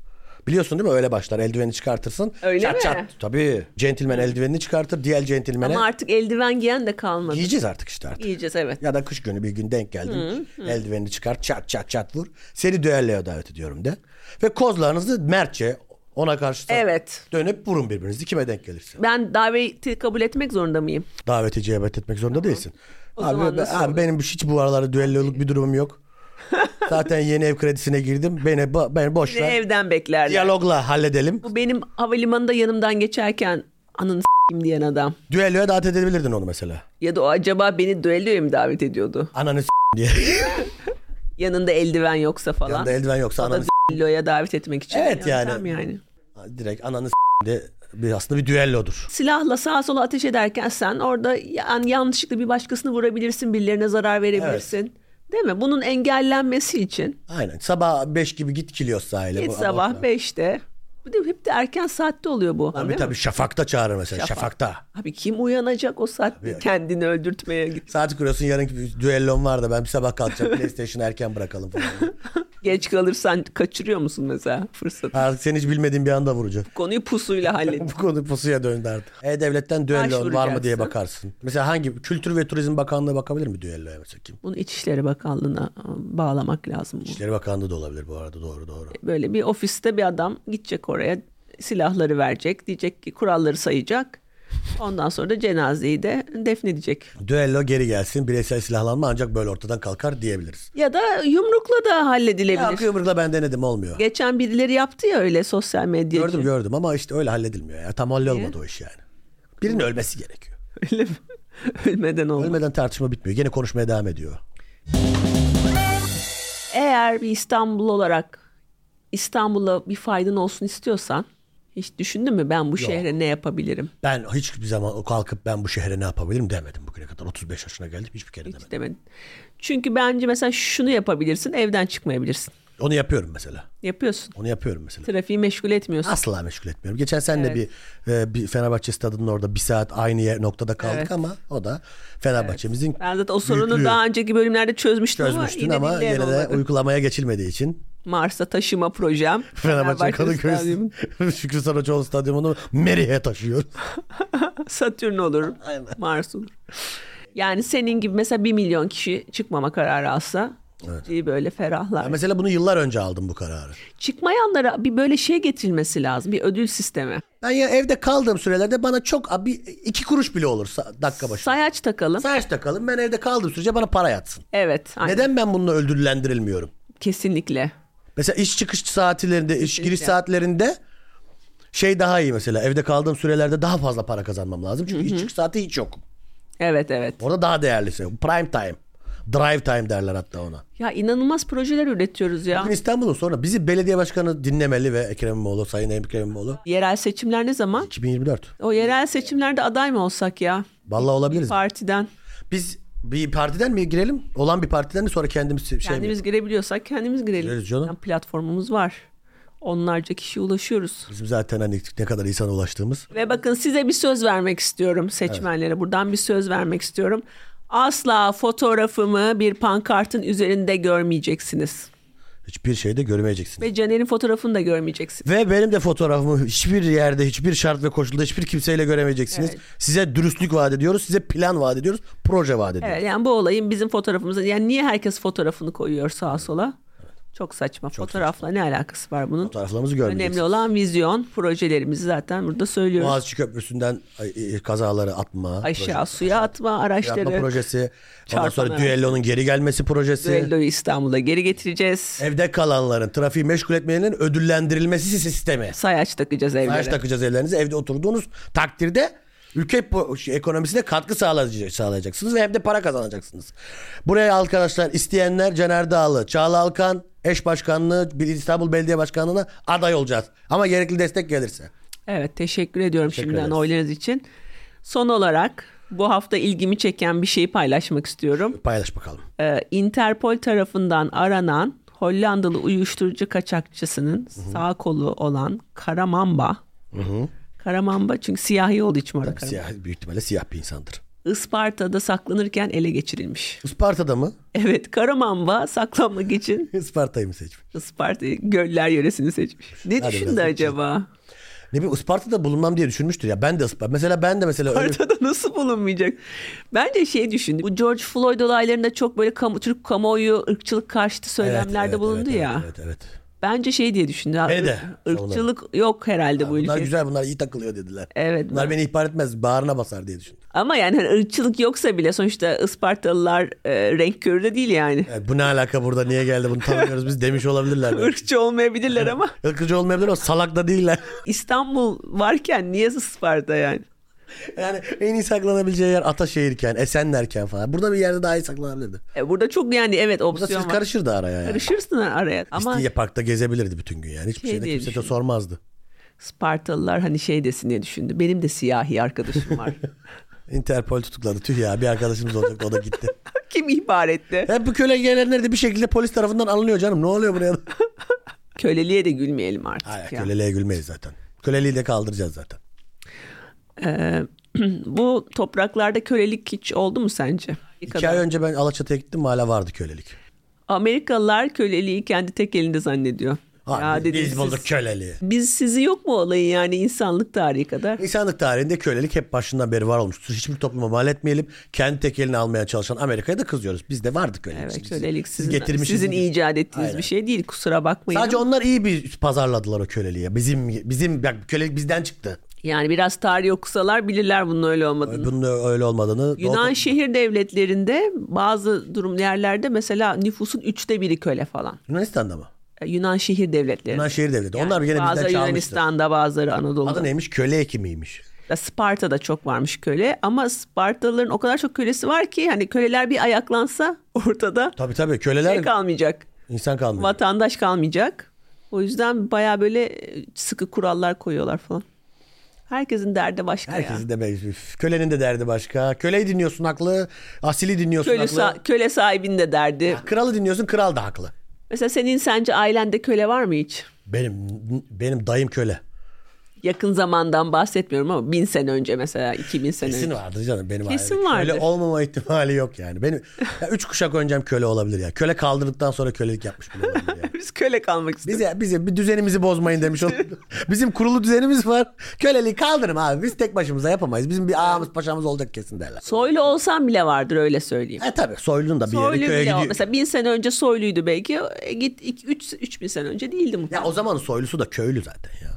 C: biliyorsun değil mi öyle başlar eldiveni çıkartırsın.
A: Öyle
C: çat
A: mi?
C: çat. Tabii. Centilmen eldivenini çıkartır diğer centilmene.
A: Ama artık eldiven giyen de kalmadı.
C: Yiyeceğiz artık işte artık.
A: Yiyeceğiz evet.
C: Ya da kış günü bir gün denk geldin. Eldivenini çıkart çat çat çat vur. Seni düelloya davet ediyorum de. Ve kozlarınızı mertçe ona karşı
A: Evet.
C: dönüp vurun birbirinizi kime denk gelirse.
A: Ben daveti kabul etmek zorunda mıyım?
C: Daveti cebet etmek zorunda değilsin.
A: O
C: abi,
A: zaman
C: ben-
A: nasıl
C: abi
A: oluyor?
C: benim hiç bu aralarda düelloluk bir
A: [laughs]
C: durumum yok. Zaten yeni ev kredisine girdim. Beni, ba- beni boş
A: Beni
C: ver.
A: evden beklerler.
C: Diyalogla halledelim.
A: Bu benim havalimanında yanımdan geçerken anın s**eyim diyen adam.
C: Düelloya davet edebilirdin onu mesela.
A: Ya da o acaba beni düelloya mı davet ediyordu?
C: Ananı s- diye.
A: Yanında eldiven yoksa falan.
C: [laughs] Yanında eldiven yoksa
A: o da
C: ananı s-
A: düelloya davet etmek için.
C: Evet
A: bir yöntem
C: yani.
A: yani.
C: direkt ananı s- diye bir, aslında bir düellodur.
A: Silahla sağa sola ateş ederken sen orada yani yanlışlıkla bir başkasını vurabilirsin, birilerine zarar verebilirsin. Değil mi? Bunun engellenmesi için
C: Aynen. Sabah 5 gibi git Kilios sahile.
A: geç
C: Bu-
A: sabah
C: bu-
A: 5'te. Bu da hep de erken saatte oluyor bu.
C: Tabii
A: değil mi?
C: tabii şafakta çağırır mesela.
A: Şafak.
C: Şafakta.
A: Abi kim uyanacak o saatte
C: Tabii.
A: kendini öldürtmeye git.
C: Saati kuruyorsun yarınki bir düellom var da ben bir
A: [laughs]
C: sabah kalkacağım. PlayStation'ı erken bırakalım falan.
A: Geç kalırsan kaçırıyor musun mesela fırsatı?
C: Artık sen hiç bilmediğin bir anda vuracak.
A: Konuyu pusuyla
C: [laughs]
A: hallet.
C: Bu konu pusuya döndü artık. E-Devlet'ten düello var mı
A: Başvuracaksın.
C: diye bakarsın. Mesela hangi Kültür ve Turizm Bakanlığı bakabilir mi düelloya mesela kim?
A: Bunu İçişleri Bakanlığı'na e, bağlamak lazım. bu.
C: İçişleri Bakanlığı da olabilir bu arada doğru doğru.
A: Böyle bir ofiste bir adam gidecek oraya silahları verecek. Diyecek ki kuralları sayacak. Ondan sonra da cenazeyi de defnedecek.
C: Düello geri gelsin bireysel silahlanma ancak böyle ortadan kalkar diyebiliriz.
A: Ya da yumrukla da
C: Ya
A: halledilebilir.
C: Kıbrıs'ta ben denedim olmuyor.
A: Geçen birileri yaptı ya öyle sosyal medyada.
C: Gördüm gördüm ama işte öyle halledilmiyor ya. Tam hallolmadı o iş yani. Birinin ölmesi gerekiyor.
A: Öyle mi? [laughs] Ölmeden olmaz.
C: Ölmeden tartışma bitmiyor. Gene konuşmaya devam ediyor.
A: Eğer bir İstanbul olarak İstanbul'a bir faydan olsun istiyorsan hiç düşündün mü ben bu şehre ne yapabilirim?
C: Ben hiçbir zaman kalkıp ben bu şehre ne yapabilirim demedim bugüne kadar. 35 yaşına geldim hiçbir kere demedim.
A: Hiç demedin. Çünkü bence mesela şunu yapabilirsin evden çıkmayabilirsin.
C: Onu yapıyorum mesela.
A: Yapıyorsun.
C: Onu yapıyorum mesela.
A: Trafiği meşgul etmiyorsun.
C: Asla meşgul etmiyorum. Geçen sen de bir, e, bir Fenerbahçe stadının orada bir saat aynı yer noktada kaldık
A: Evet.
C: ama o da Fenerbahçemizin
A: Ben zaten o sorunu
C: büyüklüğü
A: daha önceki bölümlerde çözmüştüm
C: çözmüştün
A: ama
C: ama,
A: yine,
C: yine de
A: olmadı.
C: uygulamaya geçilmediği için
A: Mars'a taşıma projem.
C: [laughs] Fenerbahçe Kadıköy
A: Stadyumu.
C: [laughs] Şükrü Saracoğlu stadyumunu Merih'e taşıyor.
A: Satürn
C: [laughs]
A: olur. Mars olur. Yani senin gibi mesela bir milyon kişi çıkmama kararı alsa ciddi böyle ferahlar.
C: Ya mesela bunu yıllar önce aldım bu kararı.
A: Çıkmayanlara bir böyle şey getirilmesi lazım. Bir ödül sistemi.
C: Ben ya evde kaldığım sürelerde bana çok abi iki kuruş bile olur sa- dakika başı.
A: Sayaç takalım.
C: Sayaç takalım ben evde kaldığım sürece bana para yatsın.
A: Evet. aynen.
C: Neden ben bununla öldürülendirilmiyorum?
A: Kesinlikle.
C: Mesela iş çıkış saatlerinde, iş giriş
A: Kesinlikle.
C: saatlerinde şey daha iyi mesela. Evde kaldığım sürelerde daha fazla para kazanmam lazım. Çünkü iş çıkış saati hiç yok.
A: Evet evet.
C: Orada daha değerlisi. Prime time. Drive time derler hatta ona.
A: Ya inanılmaz projeler üretiyoruz ya.
C: Bugün İstanbul'un sonra bizi belediye başkanı dinlemeli ve Ekrem İmamoğlu, Sayın Ekrem İmamoğlu.
A: Yerel seçimler ne zaman?
C: 2024.
A: O yerel seçimlerde aday mı olsak ya?
C: Vallahi olabiliriz.
A: Partiden.
C: Biz bir partiden mi girelim? Olan bir partiden mi sonra kendimiz şey mi?
A: Kendimiz girebiliyorsak kendimiz girelim.
C: Gireriz canım.
A: Yani platformumuz var. Onlarca kişiye ulaşıyoruz.
C: Bizim zaten hani ne kadar insana ulaştığımız.
A: Ve bakın size bir söz vermek istiyorum seçmenlere. Buradan bir söz vermek istiyorum. Asla fotoğrafımı bir pankartın üzerinde görmeyeceksiniz.
C: Hiçbir şeyde görmeyeceksiniz.
A: Ve Caner'in fotoğrafını da görmeyeceksiniz.
C: Ve benim de fotoğrafımı hiçbir yerde, hiçbir şart ve koşulda hiçbir kimseyle göremeyeceksiniz.
A: Evet.
C: Size dürüstlük vaat ediyoruz, size plan vaat ediyoruz, proje vaat ediyoruz.
A: Evet, yani bu olayın bizim fotoğrafımıza yani niye herkes fotoğrafını koyuyor sağa sola? Çok saçma. Fotoğrafla ne alakası var bunun?
C: Fotoğraflarımızı görmeyeceksiniz.
A: Önemli olan vizyon, projelerimizi zaten burada söylüyoruz.
C: Boğaziçi Köprüsü'nden ay, ay, kazaları atma.
A: Aşağı
C: projesi.
A: suya atma
C: Yapma
A: araçları.
C: projesi. Ondan
A: Çarpan
C: sonra
A: araç.
C: düellonun geri gelmesi projesi.
A: Düelloyu İstanbul'a geri getireceğiz.
C: Evde kalanların, trafiği meşgul etmeyenlerin ödüllendirilmesi sistemi.
A: Sayaç takacağız evlere.
C: Maaş takacağız evlerinize. Evde oturduğunuz takdirde ülke po- şey, ekonomisine katkı sağlayacak, sağlayacaksınız ve hem de para kazanacaksınız. Buraya arkadaşlar isteyenler Caner Dağlı, Çağla Alkan, eş başkanlığı bir İstanbul Belediye Başkanlığı'na aday olacağız. Ama gerekli destek gelirse.
A: Evet teşekkür ediyorum şimdiden
C: ederiz.
A: oylarınız için. Son olarak bu hafta ilgimi çeken bir şeyi paylaşmak istiyorum.
C: Paylaş bakalım.
A: Ee, Interpol tarafından aranan Hollandalı uyuşturucu kaçakçısının sağ kolu olan Karamamba. Karamamba Karamamba çünkü siyahi olduğu için var. Karamamba.
C: Siyah, büyük ihtimalle siyah bir insandır.
A: Isparta'da saklanırken ele geçirilmiş. [laughs]
C: Isparta'da mı?
A: Evet Karamamba saklanmak için
C: Isparta'yı mı seçmiş?
A: Isparta göller yöresini seçmiş. Ne
C: Hadi
A: düşündü
C: biraz
A: acaba?
C: Ne bileyim Isparta'da bulunmam diye düşünmüştür ya. Ben de Isparta. Mesela ben de mesela öyle-
A: Isparta'da [laughs] nasıl bulunmayacak? Bence şey düşündü. Bu George Floyd olaylarında çok böyle kamu, Türk kamuoyu ırkçılık karşıtı
C: Evet,
A: söylemlerde
C: evet,
A: bulundu
C: evet,
A: ya.
C: Evet evet.
A: Bence şey diye düşündü.
C: Beni de
A: Irkçılık yok herhalde bu
C: Bunlar
A: ülkede.
C: güzel bunlar iyi takılıyor dediler.
A: Evet.
C: Bunlar beni ihbar etmez bağrına basar diye düşündüm.
A: Ama yani hani ırkçılık yoksa bile sonuçta Ispartalılar e, renk körü de değil yani.
C: Evet, E, bu ne alaka burada niye geldi bunu tanımıyoruz biz demiş olabilirler. belki.
A: Irkçı olmayabilirler
C: [laughs]
A: ama
C: Irkçı olmayabilir ama salak da değiller. [laughs]
A: İstanbul varken niye Isparta yani?
C: yani en iyi saklanabileceği yer Ataşehir'ken, Esenler'ken falan. Burada bir yerde daha iyi saklanabilirdi.
A: E, burada çok yani evet
C: Burada
A: opsiyon
C: siz
A: var.
C: karışırdı araya yani.
A: Karışırsın araya. Ama
C: İstinye Park'ta gezebilirdi bütün gün yani. Hiçbir
A: Şey
C: şeyde
A: diye
C: kimse de
A: düşündüm.
C: sormazdı.
A: Spartalılar hani şey desin diye düşündü. Benim de siyahi arkadaşım
C: [laughs]
A: var.
C: Interpol tutukladı. Tüh ya bir arkadaşımız olacaktı o da gitti. [laughs]
A: Kim ihbar etti?
C: Hep bu köle gelenler de bir şekilde polis tarafından alınıyor canım. Ne oluyor
A: [laughs]
C: buraya? da?
A: Köleliğe de gülmeyelim artık
C: Hayır
A: ya.
C: köleliğe gülmeyiz zaten. Köleliği de kaldıracağız zaten.
A: Ee, [clears throat] bu topraklarda kölelik hiç oldu mu sence? Ne
C: İki
A: kadar?
C: ay önce ben Alaçatı'ya gittim hala vardı kölelik.
A: Amerikalılar köleliği kendi tek elinde zannediyor.
C: Ha,
A: Ya
C: biz,
A: dedim
C: biz
A: siz-
C: bulduk köleliği.
A: Biz sizi yok mu olayı yani insanlık tarihi kadar?
C: İnsanlık tarihinde kölelik hep başından beri var olmuştur. Hiçbir topluma mal etmeyelim. Kendi tek elini almaya çalışan Amerika'ya da kızıyoruz. Bizde vardı kölelik.
A: Evet
C: Siz-
A: kölelik
C: siz
A: sizin,
C: getirmişsiniz.
A: sizin icat ettiğiniz
C: Aynen.
A: bir şey değil kusura bakmayın.
C: Sadece onlar iyi bir pazarladılar o köleliği. Bizim bizim bak kölelik bizden çıktı.
A: Yani biraz tarih okusalar bilirler bunun öyle olmadığını.
C: Bunun öyle olmadığını.
A: Yunan şehir devletlerinde bazı durum yerlerde mesela nüfusun üçte biri köle falan.
C: Yunanistan'da mı?
A: E, Yunan şehir devletleri.
C: Yunan şehir devleti.
A: Yani
C: onlar gene bizden
A: Bazıları
C: çalmıştı.
A: Yunanistan'da bazıları Anadolu'da.
C: Adı neymiş? Köle ekimiymiş.
A: Ya Sparta'da çok varmış köle ama Spartalıların o kadar çok kölesi var ki hani köleler bir ayaklansa [laughs] ortada
C: Tabii tabii
A: şey
C: köleler
A: kalmayacak.
C: insan kalmıyor.
A: Vatandaş kalmayacak. O yüzden baya böyle e, sıkı kurallar koyuyorlar falan. Herkesin derdi başka ya.
C: Herkesin de be- üf, kölenin de derdi başka. Köleyi dinliyorsun haklı. Asili dinliyorsun
A: Köle,
C: haklı.
A: sa- köle sahibinin de derdi.
C: Kralı dinliyorsun kral da haklı.
A: Mesela senin sence ailende köle var mı hiç?
C: Benim benim dayım köle.
A: Yakın zamandan bahsetmiyorum ama bin sene önce mesela 2000 sene
C: Kesin
A: önce.
C: vardır canım benim
A: Kesin
C: ailemde. Köle
A: vardır.
C: olmama ihtimali yok yani. Benim ya üç kuşak öncem köle olabilir ya. Köle kaldırdıktan sonra kölelik yapmış bile olabilir ya.
A: Biz köle kalmak istiyoruz.
C: Bize, bize bir düzenimizi bozmayın demiş olabilir. [laughs] Bizim kurulu düzenimiz var. Köleliği kaldırın abi. Biz tek başımıza yapamayız. Bizim bir ağamız paşamız olacak kesin derler.
A: Soylu olsan bile vardır öyle söyleyeyim.
C: E tabii soylunun da bir
A: Soylu
C: yeri köye
A: bile ol-
C: gidiyor.
A: mesela bin sene önce soyluydu belki. E, Git 3 bin sene önce değildi mutlaka.
C: Ya o zaman soylusu da köylü zaten ya.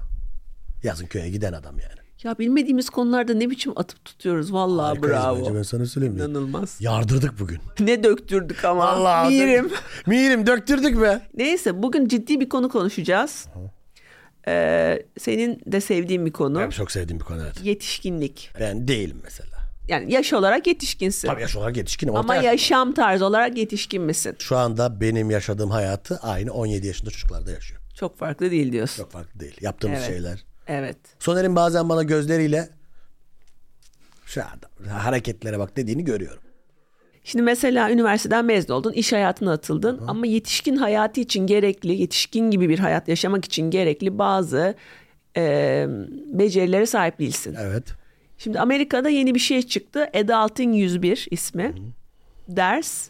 C: Yazın köye giden adam yani.
A: Ya bilmediğimiz konularda ne biçim atıp tutuyoruz. Vallahi
C: Harikayız bence,
A: bravo.
C: Ben sana söyleyeyim mi?
A: İnanılmaz. [laughs]
C: Dırdırdık bugün.
A: Ne döktürdük ama.
C: Allah
A: Mirim.
C: Mirim döktürdük be.
A: Neyse bugün ciddi bir konu konuşacağız. Ee, senin de sevdiğin bir konu.
C: Ben çok sevdiğim bir konu evet.
A: Yetişkinlik.
C: Ben değilim mesela.
A: Yani yaş olarak yetişkinsin.
C: Tabii yaş olarak yetişkinim.
A: Ama
C: Orta yaş-
A: yaşam tarzı olarak yetişkin misin?
C: Şu anda benim yaşadığım hayatı aynı 17 yaşında çocuklarda yaşıyor.
A: Çok farklı değil diyorsun.
C: Çok farklı değil. Yaptığımız
A: Evet.
C: şeyler.
A: Evet.
C: Soner'in bazen bana gözleriyle şu adam hareketlere bak dediğini görüyorum.
A: Şimdi mesela üniversiteden mezun oldun, iş hayatına atıldın ama yetişkin hayatı için gerekli, yetişkin gibi bir hayat yaşamak için gerekli bazı e, becerilere sahip değilsin.
C: Evet.
A: Şimdi Amerika'da yeni bir şey çıktı. Adulting 101 ismi. Ders,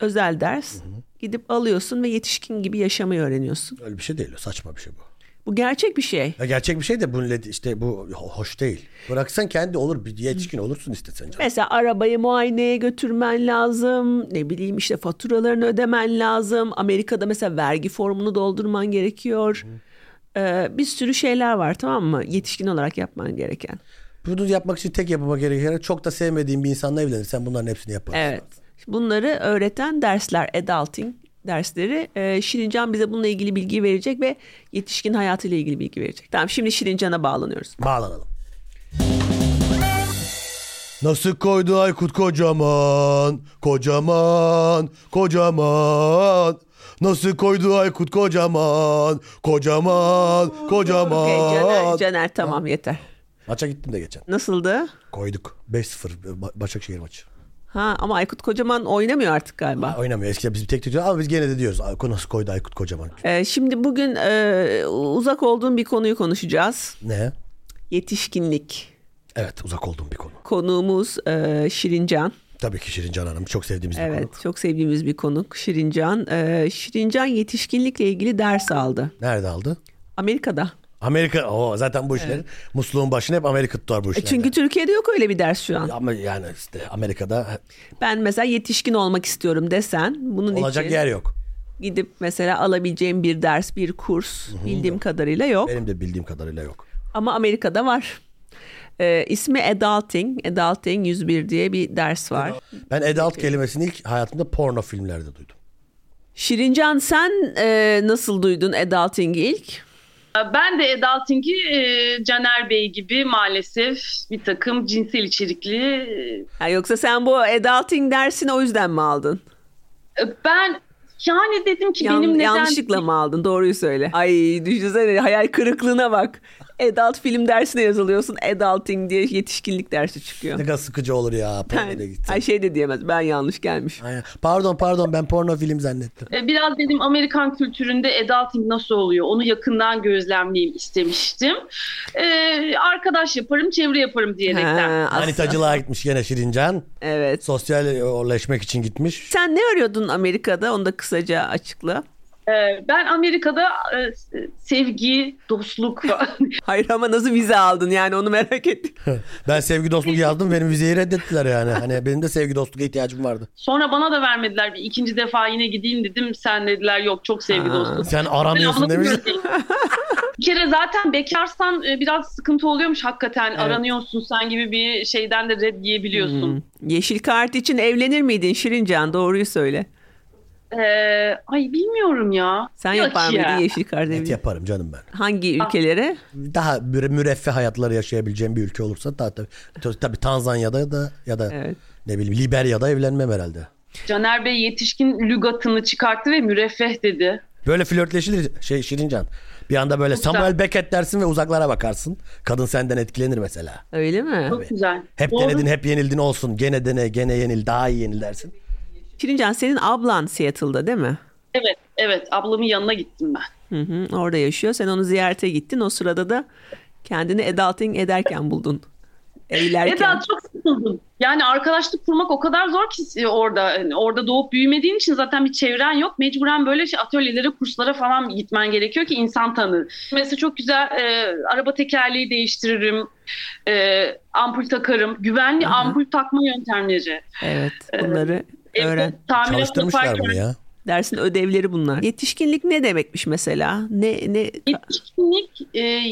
A: özel ders. Gidip alıyorsun ve yetişkin gibi yaşamayı öğreniyorsun.
C: Öyle bir şey değil. o. Saçma bir şey bu.
A: Bu gerçek bir şey.
C: Ya gerçek bir şey de bu millet işte bu hoş değil. Bıraksan kendi olur bir yetişkin olursun istesen canım.
A: Mesela arabayı muayeneye götürmen lazım. Ne bileyim işte faturalarını ödemen lazım. Amerika'da mesela vergi formunu doldurman gerekiyor. Ee, bir sürü şeyler var tamam mı? Yetişkin olarak yapman gereken.
C: Bunu yapmak için tek yapıma gereken çok da sevmediğin bir insanla evlenirsen bunların hepsini yaparsın.
A: Evet. Bunları öğreten dersler, adulting dersleri. Ee, Şirincan bize bununla ilgili bilgi verecek ve yetişkin hayatıyla ilgili bilgi verecek. Tamam şimdi Şirincan'a bağlanıyoruz.
C: Bağlanalım. Nasıl koydu Aykut kocaman, kocaman, kocaman. Nasıl koydu Aykut kocaman, kocaman,
A: Okey, Caner,
C: kocaman.
A: Caner tamam yeter.
C: Maça gittim de geçen.
A: Nasıldı?
C: Koyduk. 5-0 Ba- Başakşehir maçı.
A: Ha ama Aykut Kocaman oynamıyor artık galiba.
C: Oynamıyor. Eskiden biz bir tek tutuyoruz ama biz gene de diyoruz. "Ay, Nasıl koydu Aykut kocaman.
A: Ee, şimdi bugün e, uzak olduğum bir konuyu konuşacağız.
C: Ne?
A: Yetişkinlik.
C: Evet uzak olduğum bir konu.
A: Konuğumuz e, Şirincan.
C: Tabii ki Şirin Can Hanım çok sevdiğimiz bir
A: Evet
C: konu.
A: çok sevdiğimiz bir konuk Şirincan. E, Şirincan yetişkinlikle ilgili ders aldı.
C: Nerede aldı?
A: Amerika'da. E,
C: Amerika. Oo, zaten bu işler musluğun başını hep Amerika tutar bu
A: E,
C: işlerde.
A: çünkü Türkiye'de yok öyle bir ders şu an.
C: ama yani işte Amerika'da
A: Ben mesela yetişkin olmak istiyorum desen bunun
C: olacak
A: için
C: yer yok.
A: gidip mesela alabileceğim bir ders, bir kurs bildiğim kadarıyla yok.
C: Benim de bildiğim kadarıyla yok.
A: Ama Amerika'da var. E, ismi Adulting. Adulting 101 diye bir ders var.
C: Ben adult kelimesini ilk hayatımda porno filmlerde duydum.
A: Şirincan sen e, nasıl duydun Adulting'i ilk?
E: Ben de adulting'i e, Caner Bey gibi maalesef bir takım cinsel içerikli e,
A: Ha, yoksa sen bu adulting dersini o yüzden mi aldın?
E: e, ben yani dedim ki
A: Yan-
E: benim neden
A: Yanlışlıkla mı aldın? Doğruyu söyle. Ay düşünsene hayal kırıklığına bak. Adult film dersine yazılıyorsun. Adulting diye yetişkinlik dersi çıkıyor.
C: Ne kadar sıkıcı olur ya pornoya
A: Yani,
C: gittim.
A: ay şey de diyemez. Ben yanlış gelmiş.
C: Aynen. Pardon pardon ben porno film zannettim.
E: E, biraz dedim Amerikan kültüründe adulting nasıl oluyor onu yakından gözlemleyeyim istemiştim. E, arkadaş yaparım çevre yaparım diyerekten.
A: Ha, as-
C: Manitacılığa gitmiş gene Şirincan.
A: evet.
C: Sosyalleşmek için gitmiş.
A: Sen ne arıyordun Amerika'da? Onu da kısaca açıkla.
E: E, ben Amerika'da e, sevgi, dostluk [laughs]
A: Hayır ama nasıl vize aldın yani onu merak ettik.
C: Ben sevgi dostluk yazdım benim vizeyi reddettiler yani. Hani benim de sevgi dostluğa ihtiyacım vardı.
E: Sonra bana da vermediler. Bir ikinci defa yine gideyim dedim. Sen dediler yok çok sevgi
A: Ha.
E: dostum.
C: Sen
E: Ben
C: aranıyorsun demiş.
E: anlatamıyorum.
A: [laughs]
E: bir kere zaten bekarsan e, biraz sıkıntı oluyormuş hakikaten. Aranıyorsun sen gibi bir şeyden de red yiyebiliyorsun.
A: Hmm. Yeşil kart için evlenir miydin Şirincan? Doğruyu söyle.
C: Hmm.
E: Ee, ay bilmiyorum ya.
A: Sen
E: Yok
A: yapar
E: ya. Ah.
A: mıydın yeşil kart
C: Evet
A: evliliği?
C: yaparım canım ben.
A: Hangi ülkelere?
C: Daha müre- müreffeh hayatları yaşayabileceğim bir ülke olursa ta- tabii tabii Tanzanya'da da ya da
A: Evet.
C: ne bileyim Liberya'da evlenmem herhalde.
E: Caner Bey yetişkin lügatını çıkarttı ve müreffeh dedi.
C: Böyle flörtleşilir şey Şirincan. Bir anda böyle
E: Güzel.
C: Samuel Beckett dersin ve uzaklara bakarsın. Kadın senden etkilenir mesela.
A: Öyle mi?
E: Çok güzel.
C: Hep
E: Doğru.
C: denedin hep yenildin olsun. Gene dene gene yenil daha iyi yenil dersin.
A: Şirincan senin ablan Seattle'da değil mi?
E: Evet, evet. Ablamın yanına gittim ben.
A: Hı hı, orada yaşıyor. Sen onu ziyarete gittin. O sırada da kendini adulting ederken buldun. Eğlerken.
E: Eda çok sıkıldım. Yani arkadaşlık kurmak o kadar zor ki orada. Yani orada doğup büyümediğin için zaten bir çevren yok. Mecburen böyle şey, atölyelere, kurslara falan gitmen gerekiyor ki insan tanır. Mesela çok güzel e, araba tekerleği değiştiririm. E, ampul takarım. Güvenli
A: Aha.
E: ampul takma yöntemleri. [laughs]
A: Evet bunları
E: Evde
A: öğren.
E: tamirat
C: Çalıştırmışlar
E: yaparken-
C: bunu ya.
A: Dersin ödevleri bunlar. Yetişkinlik ne demekmiş mesela? Ne ne
E: Yetişkinlik e,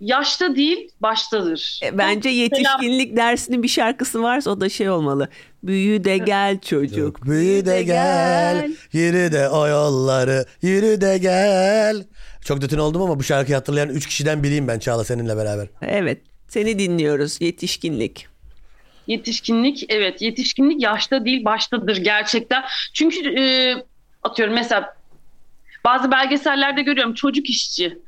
E: yaşta değil, baştadır.
A: E, bence yetişkinlik dersinin bir şarkısı varsa o da şey olmalı. Büyü de gel çocuk.
C: Yok büyü de gel. Yürü de o yolları. Yürü de gel. Çok dütün oldum ama bu şarkıyı hatırlayan 3 kişiden biriyim ben Çağla seninle beraber.
A: Evet. Seni dinliyoruz. Yetişkinlik.
E: Yetişkinlik evet yetişkinlik yaşta değil baştadır gerçekten. Çünkü e, atıyorum mesela bazı belgesellerde görüyorum çocuk işçi.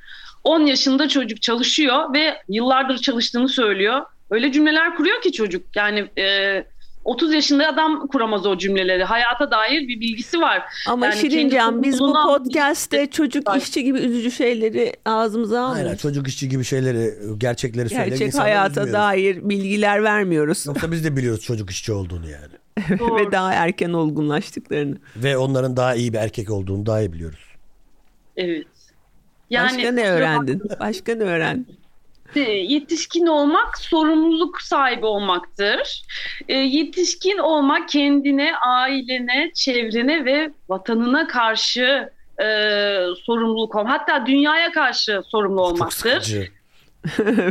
E: 10 yaşında çocuk çalışıyor ve yıllardır çalıştığını söylüyor. Öyle cümleler kuruyor ki çocuk. Yani e, 30 yaşında adam kuramaz o cümleleri. Hayata dair bir bilgisi var.
A: Ama
E: Yani
A: Şirincan
E: kendi
A: biz bu
E: toplumuna- şey
A: podcast'te çocuk işçi gibi üzücü şeyleri ağzımıza
C: Aynen
A: almıyoruz.
C: çocuk işçi gibi şeyleri, gerçekleri söyle.
A: Gerçek
C: insanları
A: hayata
C: üzmüyoruz.
A: dair bilgiler vermiyoruz
C: Yoksa biz de biliyoruz çocuk işçi olduğunu yani.
A: [laughs] [laughs] ve daha erken olgunlaştıklarını.
C: Ve onların daha iyi bir erkek olduğunu daha iyi biliyoruz.
E: Evet.
A: Başka ne öğrendin? Başka ne
E: [laughs]
A: öğrendin?
E: E, yetişkin olmak sorumluluk sahibi olmaktır. E, yetişkin olmak kendine, ailene, çevrene ve vatanına karşı e, sorumluluk olmak. Hatta dünyaya karşı sorumlu
C: Çok
E: olmaktır.
C: sıkıcı.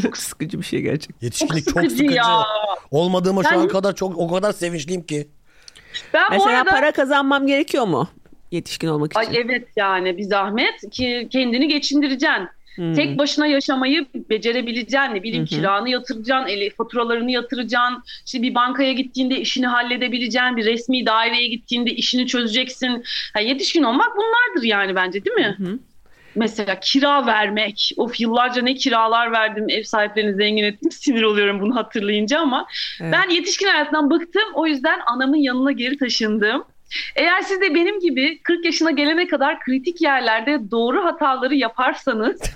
A: Çok sıkıcı bir şey gerçekten.
C: Yetişkinlik çok
E: Çok
C: sıkıcı.
E: sıkıcı ya.
C: Olmadığıma şu
E: Ben-
C: an kadar çok o kadar sevinçliyim ki.
E: Ben bu
A: Mesela
E: arada
A: para kazanmam gerekiyor mu? Yetişkin olmak için.
E: Ay evet yani bir zahmet ki kendini geçindireceksin.
A: Hmm.
E: Tek başına yaşamayı becerebileceksin. Ne bileyim kiranı yatıracaksın, eli, faturalarını yatıracaksın. İşte bir bankaya gittiğinde işini halledebileceksin. Bir resmi daireye gittiğinde işini çözeceksin. Ha, yetişkin olmak bunlardır yani bence değil mi?
A: hı.
E: Mesela kira vermek. Of yıllarca ne kiralar verdim. Ev sahiplerini zengin ettim. [laughs] Sinir oluyorum bunu hatırlayınca ama.
A: Evet.
E: Ben yetişkin hayatından bıktım. O yüzden anamın yanına geri taşındım. Eğer siz de benim gibi 40 yaşına gelene kadar kritik yerlerde doğru hataları yaparsanız [laughs]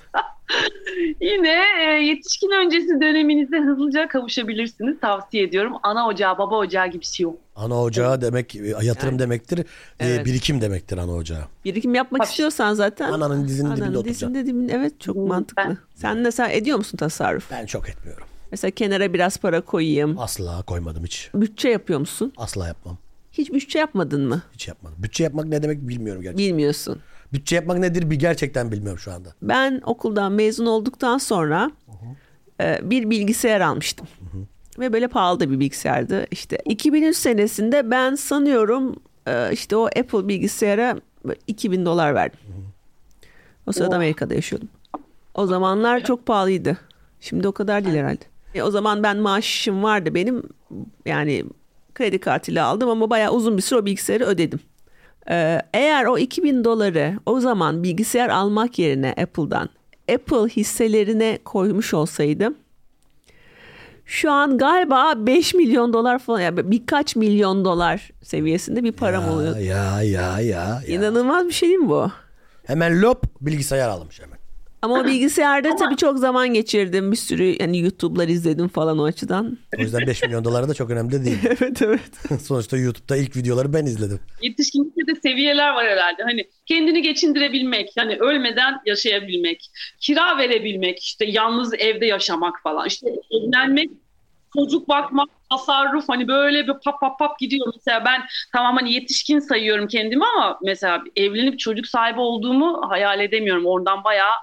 E: Yine e, yetişkin öncesi döneminize hızlıca kavuşabilirsiniz. Tavsiye ediyorum. Ana ocağı, baba ocağı gibi bir şey yok.
C: Ana ocağı demek e, yatırım
A: Yani.
C: demektir. e,
A: Evet.
C: Birikim demektir ana ocağı.
A: Birikim yapmak
E: Tabii.
A: istiyorsan zaten
C: Ananın dizinin dibinde
A: ananın
C: oturacaksın.
A: dizinde dibinde evet çok
E: Hmm,
A: mantıklı.
E: ben-
A: Sen mesela ediyor musun tasarruf?
C: Ben çok etmiyorum.
A: Mesela kenara biraz para koyayım.
C: Asla koymadım hiç.
A: Bütçe yapıyor musun?
C: Asla yapmam.
A: Hiç bütçe yapmadın mı?
C: Hiç yapmadım. Bütçe yapmak ne demek bilmiyorum gerçekten.
A: Bilmiyorsun.
C: Bütçe yapmak nedir bir gerçekten bilmiyorum şu anda.
A: Ben okuldan mezun olduktan sonra e, bir bilgisayar almıştım. Ve böyle pahalı da bir bilgisayardı. İşte 2003 senesinde ben sanıyorum e, işte o Apple bilgisayara 2000 dolar verdim. O
C: Oh.
A: sırada Amerika'da yaşıyordum. O zamanlar çok pahalıydı. Şimdi o kadar değil herhalde. E, o zaman ben maaşım vardı benim. Yani kredi kartıyla aldım ama bayağı uzun bir süre o bilgisayarı ödedim. Ee, eğer o 2000 doları o zaman bilgisayar almak yerine Apple'dan Apple hisselerine koymuş olsaydım şu an galiba 5 milyon dolar falan yani birkaç milyon dolar seviyesinde bir param
C: Ya,
A: oluyor.
C: Ya ya ya. ya.
A: İnanılmaz bir şey değil mi bu?
C: Hemen lop bilgisayar almış hemen.
A: [laughs] Ama o bilgisayarda tabii çok zaman geçirdim. Bir sürü yani YouTube'lar izledim falan o açıdan.
C: O yüzden 5 milyon dolara da çok önemli değil.
A: [laughs] evet evet.
C: Sonuçta YouTube'da ilk videoları ben izledim.
E: Yetişkinlikte de seviyeler var herhalde. Hani kendini geçindirebilmek, hani ölmeden yaşayabilmek, kira verebilmek, işte yalnız evde yaşamak falan, işte evlenmek, çocuk bakmak, tasarruf hani böyle bir pap pap pap gidiyor. Mesela ben tamam hani yetişkin sayıyorum kendimi ama mesela evlenip çocuk sahibi olduğumu hayal edemiyorum. Oradan bayağı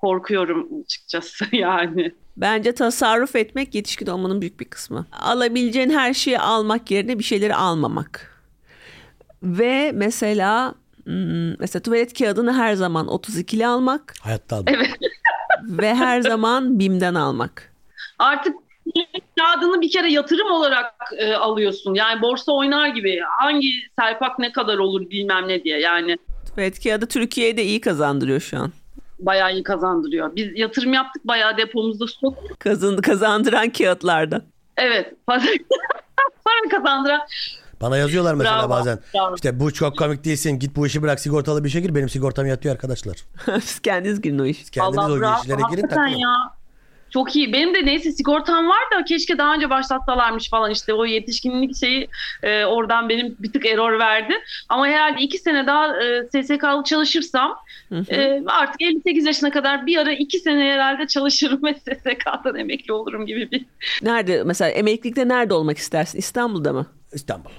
E: korkuyorum açıkçası [laughs] yani.
A: Bence tasarruf etmek yetişkin olmanın büyük bir kısmı. Alabileceğin her şeyi almak yerine bir şeyleri almamak. Ve mesela hmm, mesela tuvalet kağıdını her zaman 32'li almak
C: Hayatta aldım.
A: ve [laughs] her zaman BİM'den almak.
E: artık kağıdını bir kere yatırım olarak e, alıyorsun. Yani borsa oynar gibi hangi serpak ne kadar olur bilmem ne diye. Yani
A: Tuvalet kağıdı Türkiye'yi de iyi kazandırıyor şu an.
E: bayağı iyi kazandırıyor. Biz yatırım yaptık bayağı depomuzda stok.
A: Kazın, kazandıran kağıtlardan. [laughs]
E: Evet [laughs] para, para kazandıran.
C: Bana yazıyorlar mesela
E: Bravo,
C: bazen.
E: bravo.
C: İşte bu çok komik değilsin. Git bu işi bırak sigortalı bir işe gir. Benim sigortam yatıyor arkadaşlar.
A: Siz kendiniz girin o iş.
C: Kendiniz
E: Allah
C: o gün
E: bravo,
C: işlere girin
E: hakikaten
C: takılın.
E: ya. Çok iyi. Benim de neyse sigortam var da keşke daha önce başlatsalarmış falan işte o yetişkinlik şeyi e, oradan benim bir tık error verdi. Ama herhalde iki sene daha e, SSK'lı çalışırsam
A: Hı hı.
E: e, artık 58 yaşına kadar bir ara iki sene herhalde çalışırım ve [laughs] SSK'dan emekli olurum gibi bir.
A: Nerede mesela emeklilikte nerede olmak istersin? İstanbul'da mı?
C: İstanbul.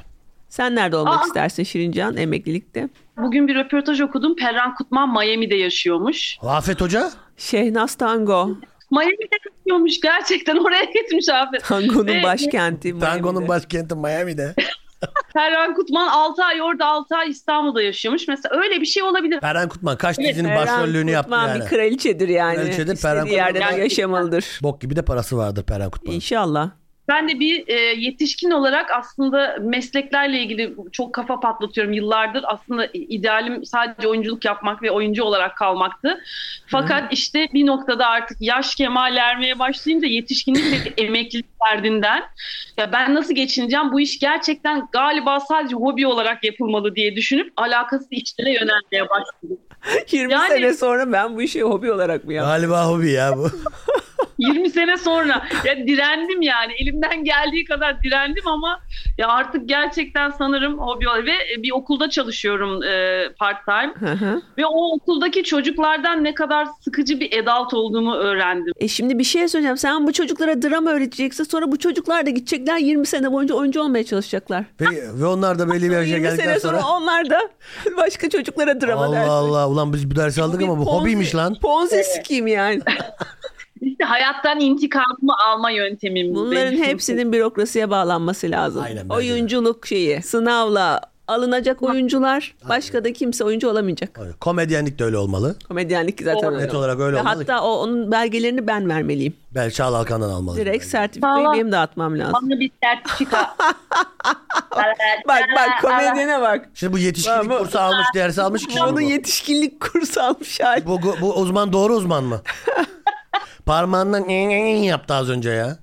A: Sen nerede olmak
E: Aa.
A: istersin Şirincan emeklilikte?
E: Bugün bir röportaj okudum. Perran Kutman Miami'de yaşıyormuş.
C: Afet Hoca?
A: Şehnaz Tango.
E: Miami'de yaşıyormuş gerçekten oraya gitmiş
A: [laughs]
E: abi.
A: Tango'nun
E: Ve-
A: başkenti.
C: Tango'nun
A: Miami'de.
C: başkenti Miami'de.
E: Perran Kutman 6 ay orada 6 ay İstanbul'da yaşıyormuş. Mesela öyle bir şey olabilir.
C: Ferhan Kutman kaç
A: Evet,
C: dizinin
A: Ferhan
C: başrolünü yaptı
A: Kutman
C: yani.
A: bir kraliçedir yani.
C: Kraliçedir,
A: İstediği
C: Ferhan Kutman.
A: yerde de
E: Gerçekten.
A: yaşamalıdır.
C: Bok gibi de parası vardır Ferhan Kutman'ın.
A: İnşallah. [laughs]
E: Ben de bir e, yetişkin olarak aslında mesleklerle ilgili çok kafa patlatıyorum yıllardır. Aslında idealim sadece oyunculuk yapmak ve oyuncu olarak kalmaktı. Fakat işte bir noktada artık yaş kemal ermeye başlayınca yetişkinlik ve [laughs] emeklilik derdinden ya ben nasıl geçineceğim bu iş gerçekten galiba sadece hobi olarak yapılmalı diye düşünüp alakasız işlere yönelmeye başladım.
A: 20
E: Yani-
A: sene sonra ben bu işi hobi olarak mı yaptım?
C: Galiba hobi
A: [laughs]
C: ya bu.
E: 20 sene sonra ya direndim yani elimden geldiği kadar direndim ama ya artık gerçekten sanırım hobi olarak- ve e, bir okulda çalışıyorum e, part time
A: Hı hı.
E: ve o okuldaki çocuklardan ne kadar sıkıcı bir adult olduğumu öğrendim.
A: e şimdi bir şey söyleyeceğim. Sen bu çocuklara drama öğreteceksin. Sonra bu çocuklar da gidecekler 20 sene boyunca oyuncu olmaya çalışacaklar.
C: Peki, ve onlar da belli bir yaşa
A: 20
C: geldikten
A: sene sonra,
C: sonra...
A: onlar da [laughs] başka çocuklara drama
C: Allah
A: dersi.
C: Allah ulan biz bu dersi aldık
A: Bir
C: ama bu
A: ponzi-
C: hobiymiş lan.
A: Ponzi sikiyim yani.
E: İşte hayattan intikamımı alma yöntemim. bu
A: Bunların
E: benim.
A: hepsinin bürokrasiye bağlanması lazım.
C: Aynen, bence de.
A: Oyunculuk şeyi, sınavla alınacak oyuncular, başka da kimse oyuncu olamayacak.
C: Komedyenlik de öyle olmalı.
A: Komedyenlik zaten öyle.
C: Net olarak öyle
A: Ve
C: olmalı.
A: hatta o onun belgelerini ben vermeliyim.
C: Bel Çağla Alkan'dan almalı.
A: Direkt
C: Bence.
A: sertifikayı
E: Valla.
A: benim dağıtmam lazım.
E: Bana bir sertifika.
A: Bak bak komedyene bak.
C: Şimdi bu yetişkinlik
A: Ama-
C: kursu almış, dersi almış kişi
A: Bunu
C: bu.
A: yetişkinlik kursu almış hali.
C: Bu, bu, bu uzman doğru
A: [laughs]
C: uzman mı? Parmağından yaptı az önce ya.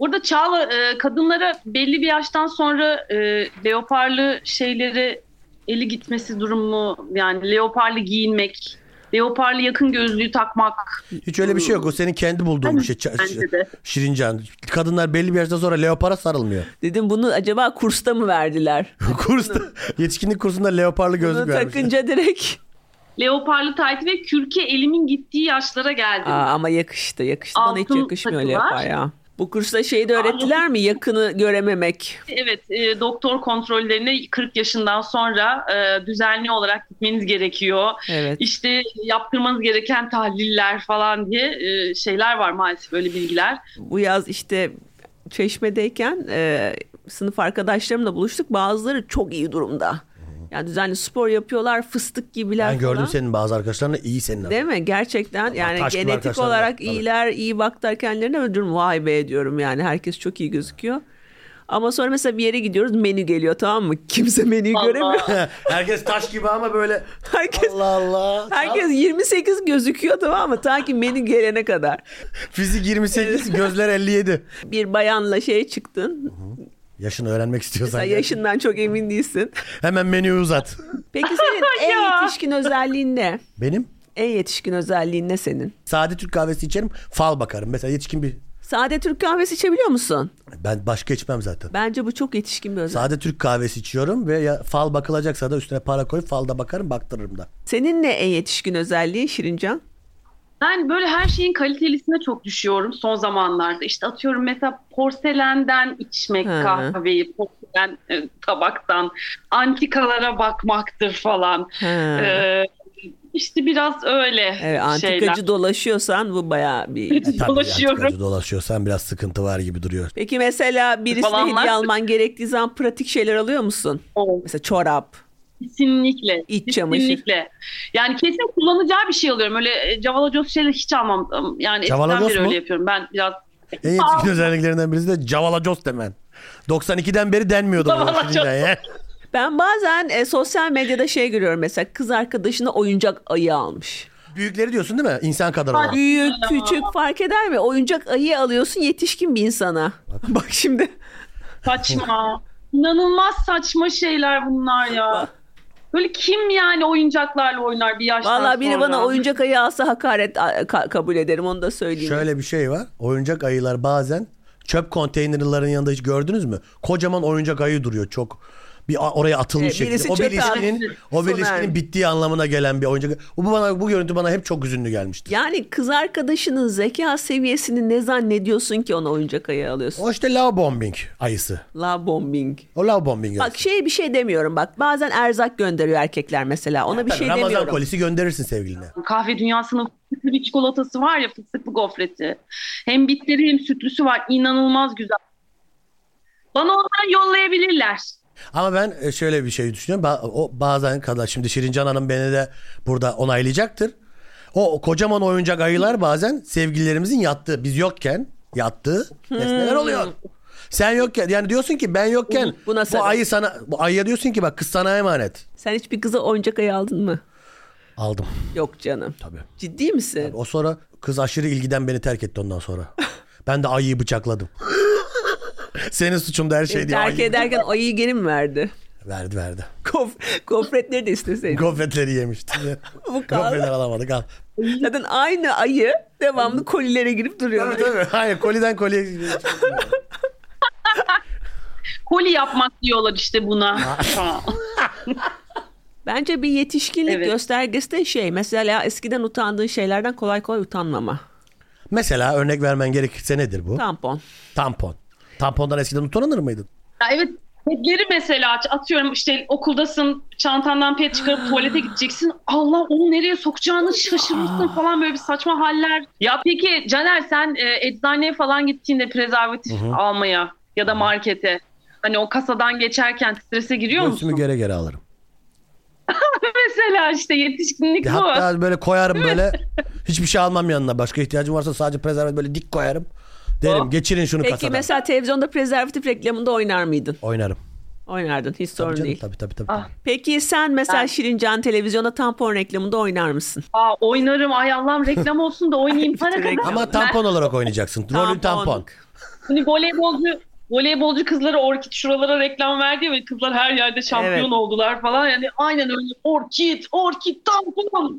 E: Burada Çağla e, kadınlara belli bir yaştan sonra e, leoparlı şeyleri eli gitmesi durumu yani leoparlı giyinmek leoparlı yakın gözlüğü takmak.
C: Hiç öyle bir şey yok. O senin kendi bulduğun bir şey. Ç-
E: Bence de.
C: Şirincan. Kadınlar belli bir yaştan sonra leopara sarılmıyor.
A: Dedim bunu acaba kursta mı verdiler?
C: Kursta, yetişkinlik kursunda leoparlı
A: Bunu
C: [laughs] gözlük vermişler.
A: takınca
C: [laughs]
A: direkt.
E: Leoparlı tayt ve kürke elimin gittiği yaşlara geldim.
A: Aa, ama yakıştı yakıştı. Bana hiç
E: Altın
A: yakışmıyor öyle
E: takılar.
A: yapar ya. Bu kursta şeyi de öğrettiler mi? Yakını görememek.
E: Evet, e, doktor kontrollerine 40 yaşından sonra e, düzenli olarak gitmeniz gerekiyor.
A: Evet.
E: İşte yaptırmanız gereken tahliller falan diye e, şeyler var maalesef böyle bilgiler.
A: Bu yaz işte çeşmedeyken e, sınıf arkadaşlarımla buluştuk. Bazıları çok iyi durumda. Yani düzenli spor yapıyorlar. Fıstık gibiler
C: Ben gördüm
A: falan.
C: senin bazı arkadaşlarını iyi senin.
A: Değil mi? Gerçekten yani
C: taş gibi
A: genetik
C: arkadaşlar var.
A: olarak
C: Tabii.
A: iyiler, iyi baktılar kendilerine ve diyorum vay be diyorum yani herkes çok iyi gözüküyor. Ama sonra mesela bir yere gidiyoruz menü geliyor tamam mı? Kimse menüyü
E: Allah.
A: göremiyor. [laughs]
C: [laughs] Herkes taş gibi ama böyle
A: Herkes
C: Allah Allah.
A: Herkes 28 gözüküyor tamam mı? Ta ki menü gelene kadar.
C: Fizik 28, gözler 57.
A: Bir bayanla şey çıktın.
C: Yaşını öğrenmek istiyorsan.
A: Sen
C: gel.
A: yaşından çok emin değilsin.
C: Hemen menüyü uzat.
A: Peki senin en
E: [laughs] Ya.
A: yetişkin özelliğin ne?
C: Benim
A: En yetişkin özelliğin ne senin?
C: sade Türk kahvesi içerim, fal bakarım. Mesela yetişkin bir
A: Sade Türk kahvesi içebiliyor musun?
C: ben başka içmem zaten.
A: Bence bu çok yetişkin bir özellik.
C: Sade Türk kahvesi içiyorum ve ya, fal bakılacaksa da üstüne para koyup falda bakarım, baktırırım da.
A: Senin ne en yetişkin özelliğin Şirincan?
E: Ben böyle her şeyin kalitelisine çok düşüyorum son zamanlarda. İşte atıyorum mesela porselenden içmek
A: Ha.
E: kahveyi, porselen e, tabaktan, antikalara bakmaktır falan.
A: Ha.
E: Ee, işte biraz öyle
A: Evet, E, antikacı
E: şeyler.
A: dolaşıyorsan bu bayağı
E: [laughs]
A: bir...
C: E, Tabii ya,
E: Dolaşıyorum.
C: tıkacı Dolaşıyorsan biraz sıkıntı var gibi duruyor.
A: Peki mesela birisine
E: Falanlar-
A: hediye alman gerektiği zaman pratik şeyler alıyor musun?
E: O.
A: Mesela çorap.
E: Kesinlikle.
A: İç çamaşır.
E: kesinlikle. Yani kesin kullanacağı bir şey alıyorum. Öyle e, Cavalagos şeyleri hiç almam. Yani eskiden
C: Cavalagos
E: beri
C: mu?
E: öyle yapıyorum. Ben biraz
C: En yetişkin özelliklerinden birisi de cavalacos demen. 92'den beri denmiyordu bu
E: Cavalacos.
C: şimdiden ya.
A: Ben bazen e, sosyal medyada şey görüyorum mesela kız arkadaşına oyuncak ayı almış.
C: Büyükleri diyorsun değil mi? İnsan kadar olan.
A: Büyük küçük fark eder mi? Oyuncak ayı alıyorsun yetişkin bir insana. [laughs] Bak şimdi
E: saçma. inanılmaz saçma şeyler bunlar ya. Böyle kim yani oyuncaklarla oynar bir yaştan
A: Vallahi biri
E: sonra?
A: bana oyuncak ayı alsa hakaret a- ka- kabul ederim onu da söyleyeyim.
C: Şöyle bir şey var. Oyuncak ayılar bazen çöp konteynerların yanında hiç gördünüz mü? Kocaman oyuncak ayı duruyor çok. Bir a- oraya atılmış
A: Evet, birisi
C: şekilde. O bir
A: çöpe
C: ilişkinin,
A: atmış.
C: o
A: Sona
C: bir
A: ermiş.
C: ilişkinin bittiği anlamına gelen bir oyuncak. Bu bana bu görüntü bana hep çok üzünlü gelmişti.
A: Yani kız arkadaşının zeka seviyesini ne zannediyorsun ki ona oyuncak ayı alıyorsun?
C: O işte love bombing ayısı.
A: La bombing.
C: O love bombing ayısı.
A: Bak şey bir şey demiyorum bak bazen erzak gönderiyor erkekler mesela ona bir
C: Tabii,
A: şey
C: Ramazan
A: demiyorum.
C: kolisi gönderirsin sevgiline.
E: Kahve dünyasının fıstıklı bir çikolatası var ya fıstıklı gofreti. Hem bitleri hem sütlüsü var. İnanılmaz güzel. Bana ondan yollayabilirler.
C: Ama ben e, şöyle bir şey düşünüyorum. Ba- O bazen kadar şimdi Şirincan Hanım beni de burada onaylayacaktır. O o kocaman oyuncak ayılar bazen sevgililerimizin yattığı, biz yokken yattığı nesneler
A: Hmm.
C: oluyor. Sen yokken yani diyorsun ki ben yokken
A: Buna
C: bu
A: sebep.
C: ayı sana bu ayıya diyorsun ki bak kız sana emanet.
A: Sen hiçbir kıza oyuncak ayı aldın mı?
C: Aldım
A: Yok canım.
C: tabii.
A: Ciddi misin?
C: O sonra kız aşırı ilgiden beni terk etti
A: [laughs]
C: ondan sonra. Ben de ayıyı bıçakladım. [laughs] Senin suçun da her şey diye
A: E, Terk
C: ayıyı
A: ederken ayıyı geri mi verdi?
C: verdi verdi.
A: Kof, [laughs] gofretleri de isteseydin.
C: Gofretleri yemişti.
A: [laughs] Bu kaldı.
C: Gofretleri alamadık al.
A: Zaten aynı ayı devamlı kolilere girip duruyor.
C: Tabii tabii. Hayır koliden koliye.
E: Koli yapmak diyorlar işte buna.
A: Bence bir yetişkinlik
E: Evet.
A: göstergesi de şey. Mesela eskiden utandığın şeylerden kolay kolay utanmama.
C: Mesela örnek vermen gerekirse nedir bu?
A: Tampon.
C: Tampon. Tampondan eskiden utanır mıydın?
E: Ya evet petleri mesela at- atıyorum işte okuldasın çantandan
C: [gasps]
E: pet çıkarıp tuvalete gideceksin. Allah onu nereye sokacağını şaşırmışsın
C: Ah.
E: falan böyle bir saçma haller. Ya peki Caner sen e, eczaneye falan gittiğinde prezervatif almaya ya da markete hani o kasadan geçerken strese giriyor musun?
C: Göğsümü geri geri alırım.
E: [laughs] mesela işte yetişkinlik bu.
C: Hatta böyle koyarım böyle. Hiçbir şey almam yanına. Başka ihtiyacım varsa sadece prezervatif böyle dik koyarım. Derim geçirin şunu
A: Oh. Peki
C: kasadan.
A: mesela televizyonda prezervatif reklamında oynar mıydın?
C: Oynarım.
A: Oynardın. Hiç sorun
C: Tabii canım
A: değil.
C: tabii tabii. tabii.
E: Ah.
A: Peki sen mesela
E: Ben-
A: Şirincan televizyonda tampon reklamında oynar
E: [laughs]
A: mısın?
E: Aa, oynarım ay Allah'ım reklam olsun
C: [laughs]
E: da oynayayım para kadar.
A: reklam.
C: Ama tampon olarak oynayacaksın. Rolün tampon.
E: Hani voleybolcu voleybolcu kızlara orkid şuralara reklam verdi ya ve kızlar her yerde şampiyon
A: Evet.
E: oldular falan. Yani aynen öyle orkid, orkid tampon.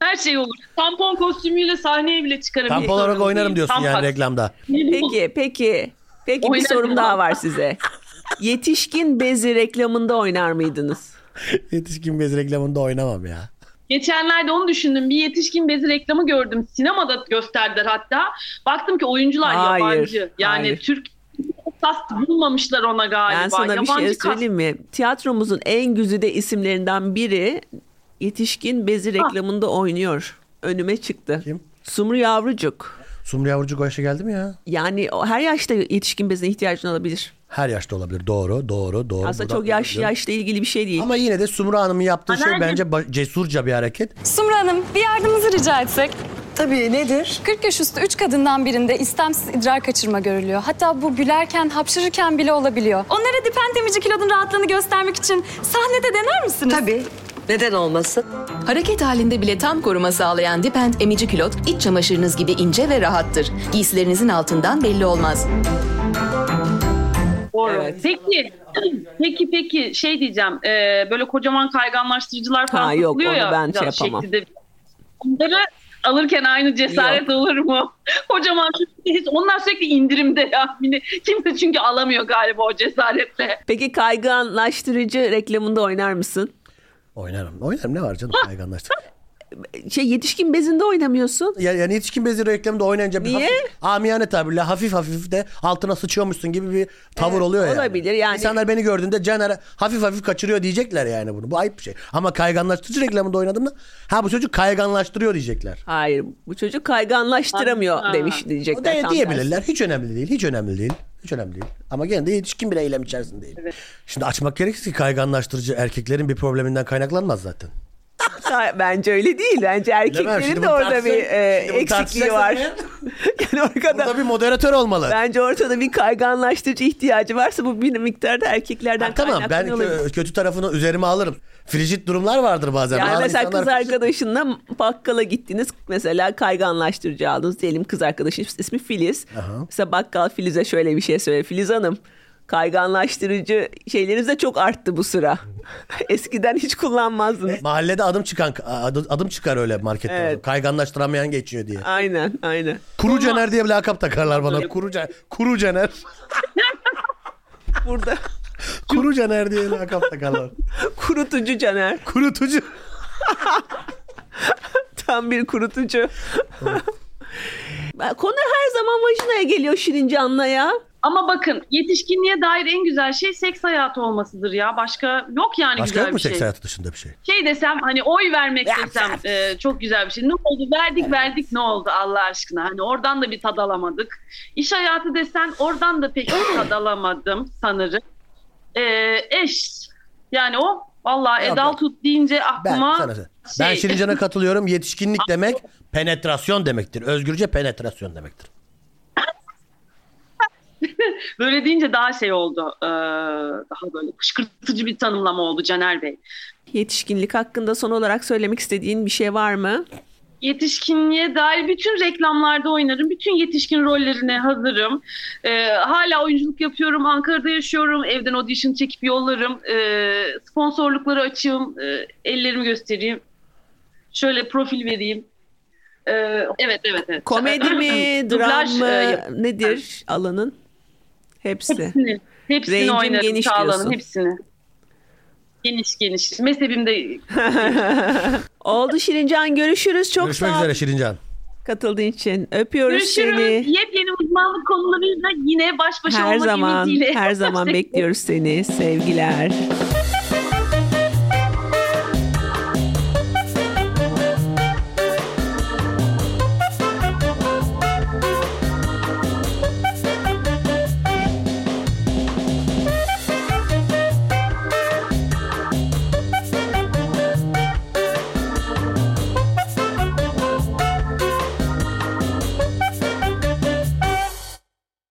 E: Her şey olur. Tampon kostümüyle sahneye bile çıkarım.
C: Kamp
E: Hiç
C: olarak
E: sorun
C: oynarım
E: değil.
C: diyorsun yani
E: Tampak.
C: reklamda. [laughs]
A: Peki peki. Peki bir
E: Oynarım.
A: sorum daha var
E: [laughs]
A: size. Yetişkin bezi reklamında oynar mıydınız?
C: Yetişkin bez reklamında oynamam ya.
E: Geçenlerde onu düşündüm. Bir yetişkin bezi reklamı gördüm. Sinemada gösterdiler hatta. Baktım ki oyuncular
A: Hayır,
E: yabancı. Yani
A: hayır.
E: Türk kast bulmamışlar ona galiba.
A: Ben sana bir
E: yabancı
A: şey
E: kast-
A: söyleyeyim mi? Tiyatromuzun en güzide isimlerinden biri yetişkin
E: Ah.
A: bezi reklamında oynuyor. Önüme çıktı.
C: Kim?
A: Sumru Yavrucuk.
C: Sumru Yavrucuk o yaşa geldi mi ya?
A: Yani o her yaşta yetişkin bezine ihtiyacın olabilir.
C: Her yaşta olabilir. Doğru, doğru, doğru.
A: Aslında
C: Buradan
A: çok yaş
C: biliyorum.
A: yaşla ilgili bir şey değil.
C: Ama yine de Sumru Hanım'ın yaptığı şey
E: Anneannem-
C: bence ba- cesurca bir hareket.
F: Sumru Hanım bir yardımınızı rica etsek.
G: Tabii nedir?
F: 40 yaş üstü 3 kadından birinde istemsiz idrar kaçırma görülüyor. Hatta bu gülerken, hapşırırken bile olabiliyor. Onlara dipen demici kilodun rahatlığını göstermek için sahnede dener misiniz?
G: Tabii. Neden olmasın?
H: Hareket halinde bile tam koruma sağlayan Dipend emici külot iç çamaşırınız gibi ince ve rahattır. Giysilerinizin altından belli olmaz.
E: Doğru.
A: Evet.
E: Peki, [clears throat] peki, peki şey diyeceğim. Ee, böyle kocaman kayganlaştırıcılar falan
A: Ha, yok,
E: tutuluyor
A: onu
E: ya.
A: ben
E: biraz
A: şey yapamam.
E: şekli de- Onları alırken aynı cesaret olur mu? [laughs] Kocaman çünkü onlar sürekli indirimde ya. Yani kimse çünkü alamıyor galiba o cesaretle.
A: Peki kayganlaştırıcı reklamında oynar mısın?
C: Oynarım. Oynarım ne var canım kayganlaştı.
A: Şey yetişkin bezinde oynamıyorsun.
C: Ya- yani yetişkin bezi reklamında oynayınca bir
A: Niye?
C: hafif, amiyane tabirle hafif hafif de altına sıçıyormuşsun gibi bir tavır oluyor yani.
A: olabilir yani.
C: İnsanlar beni gördüğünde Caner hafif hafif kaçırıyor diyecekler yani bunu. Bu ayıp bir şey. Ama kayganlaştırıcı reklamında oynadığımda ha bu çocuk kayganlaştırıyor diyecekler.
A: Hayır bu çocuk kayganlaştıramıyor
E: Ha.
A: demiş
C: O
A: diyecekler.
C: da
A: tam tersi.
C: diyebilirler. Hiç önemli değil. Hiç önemli değil. Hiç önemli değil. Ama gene de yetişkin bir eylem içerisindeyim. Şimdi açmak gerekirse ki kayganlaştırıcı erkeklerin bir probleminden kaynaklanmaz zaten.
A: Ha, Bence öyle değil. Bence
C: Bilemem,
A: erkeklerin
C: şimdi
A: de
C: bunu
A: orada
C: tartışsak-
A: bir e,
C: şimdi bunu
A: eksikliği
C: tartışacaksak
A: var.
C: eğer-
A: [laughs] yani orada
C: Burada bir moderatör olmalı.
A: bence ortada bir kayganlaştırıcı ihtiyacı varsa bu bir miktarda erkeklerden
C: Ha, tamam ben
A: kaynaklanıyor olabilir.
C: kö- kötü tarafını üzerime alırım. Frijit durumlar vardır bazen.
A: Yani
C: Bazı
A: mesela
C: insanlar-
A: kız arkadaşınla bakkala gittiniz. Mesela kayganlaştırıcı aldınız. Diyelim kız arkadaşın ismi Filiz. Mesela bakkal Filiz'e şöyle bir şey söyle. Filiz Hanım kayganlaştırıcı şeyleriniz de çok arttı bu sıra. [laughs] Eskiden hiç kullanmazdınız.
C: Mahallede adım çıkan adı- adım çıkar öyle markette.
A: Evet.
C: Kayganlaştıramayan geçiyor diye.
A: Aynen aynen.
C: Kuru Cener diye bir lakap takarlar bana. Kuru, Ce- kuru Cener.
A: Burada [laughs]
C: Kuru Cener diye lakap takarlar.
A: kurutucu Caner.
C: Kurutucu.
A: Tam bir kurutucu. [laughs] Konu her zaman vajinaya geliyor Şirincan'la ya.
E: Ama bakın yetişkinliğe dair en güzel şey seks hayatı olmasıdır ya. Başka yok yani
C: Başka
E: güzel
C: yok mu
E: bir şey.
C: seks hayatı dışında bir şey?
E: şey desem hani oy vermek desem e, çok güzel bir şey. Ne oldu? Verdik verdik ne oldu Allah aşkına? Hani oradan da bir tad alamadık. İş hayatı desen oradan da pek bir tad alamadım sanırım. E, eş yani o valla
C: Yok,
E: Edal tut deyince
C: Ben
E: aklıma
C: sana Ben
E: şey-
C: Şirincan'a katılıyorum. Yetişkinlik demek penetrasyon demektir. Özgürce penetrasyon demektir.
E: böyle deyince daha şey oldu. e, daha böyle kışkırtıcı bir tanımlama oldu Caner Bey.
A: Yetişkinlik hakkında son olarak söylemek istediğin bir şey var mı?
E: yetişkinliğe dair bütün reklamlarda oynarım. Bütün yetişkin rollerine hazırım. Ee, hala oyunculuk yapıyorum. Ankara'da yaşıyorum. Evden audition çekip yollarım. Ee, sponsorlukları açığım. Ee, ellerimi göstereyim. Şöyle profil vereyim. Ee, evet evet evet.
A: Komedi
E: [clears throat]
A: mi, dram
E: [laughs] Dublaj,
A: mı,
E: e, yap-
A: nedir alanın?
E: [laughs]
A: Hepsi.
E: Hepsini, hepsini
A: Range'in
E: oynarım.
A: geniş
E: Çağla'nın
A: diyorsun.
E: hepsini. Geniş geniş. Mezhebimde
A: Oldu Şirincan görüşürüz. Çok
C: Görüşmek
A: sağ ol
C: üzere Şirincan.
A: katıldığın için. Öpüyoruz
E: görüşürüz.
A: seni.
E: Yepyeni uzmanlık konularıyla yine baş başa
A: Her
E: olmak
A: zaman
E: [laughs] ümidiyle.
A: her zaman bekliyoruz seni. Sevgiler.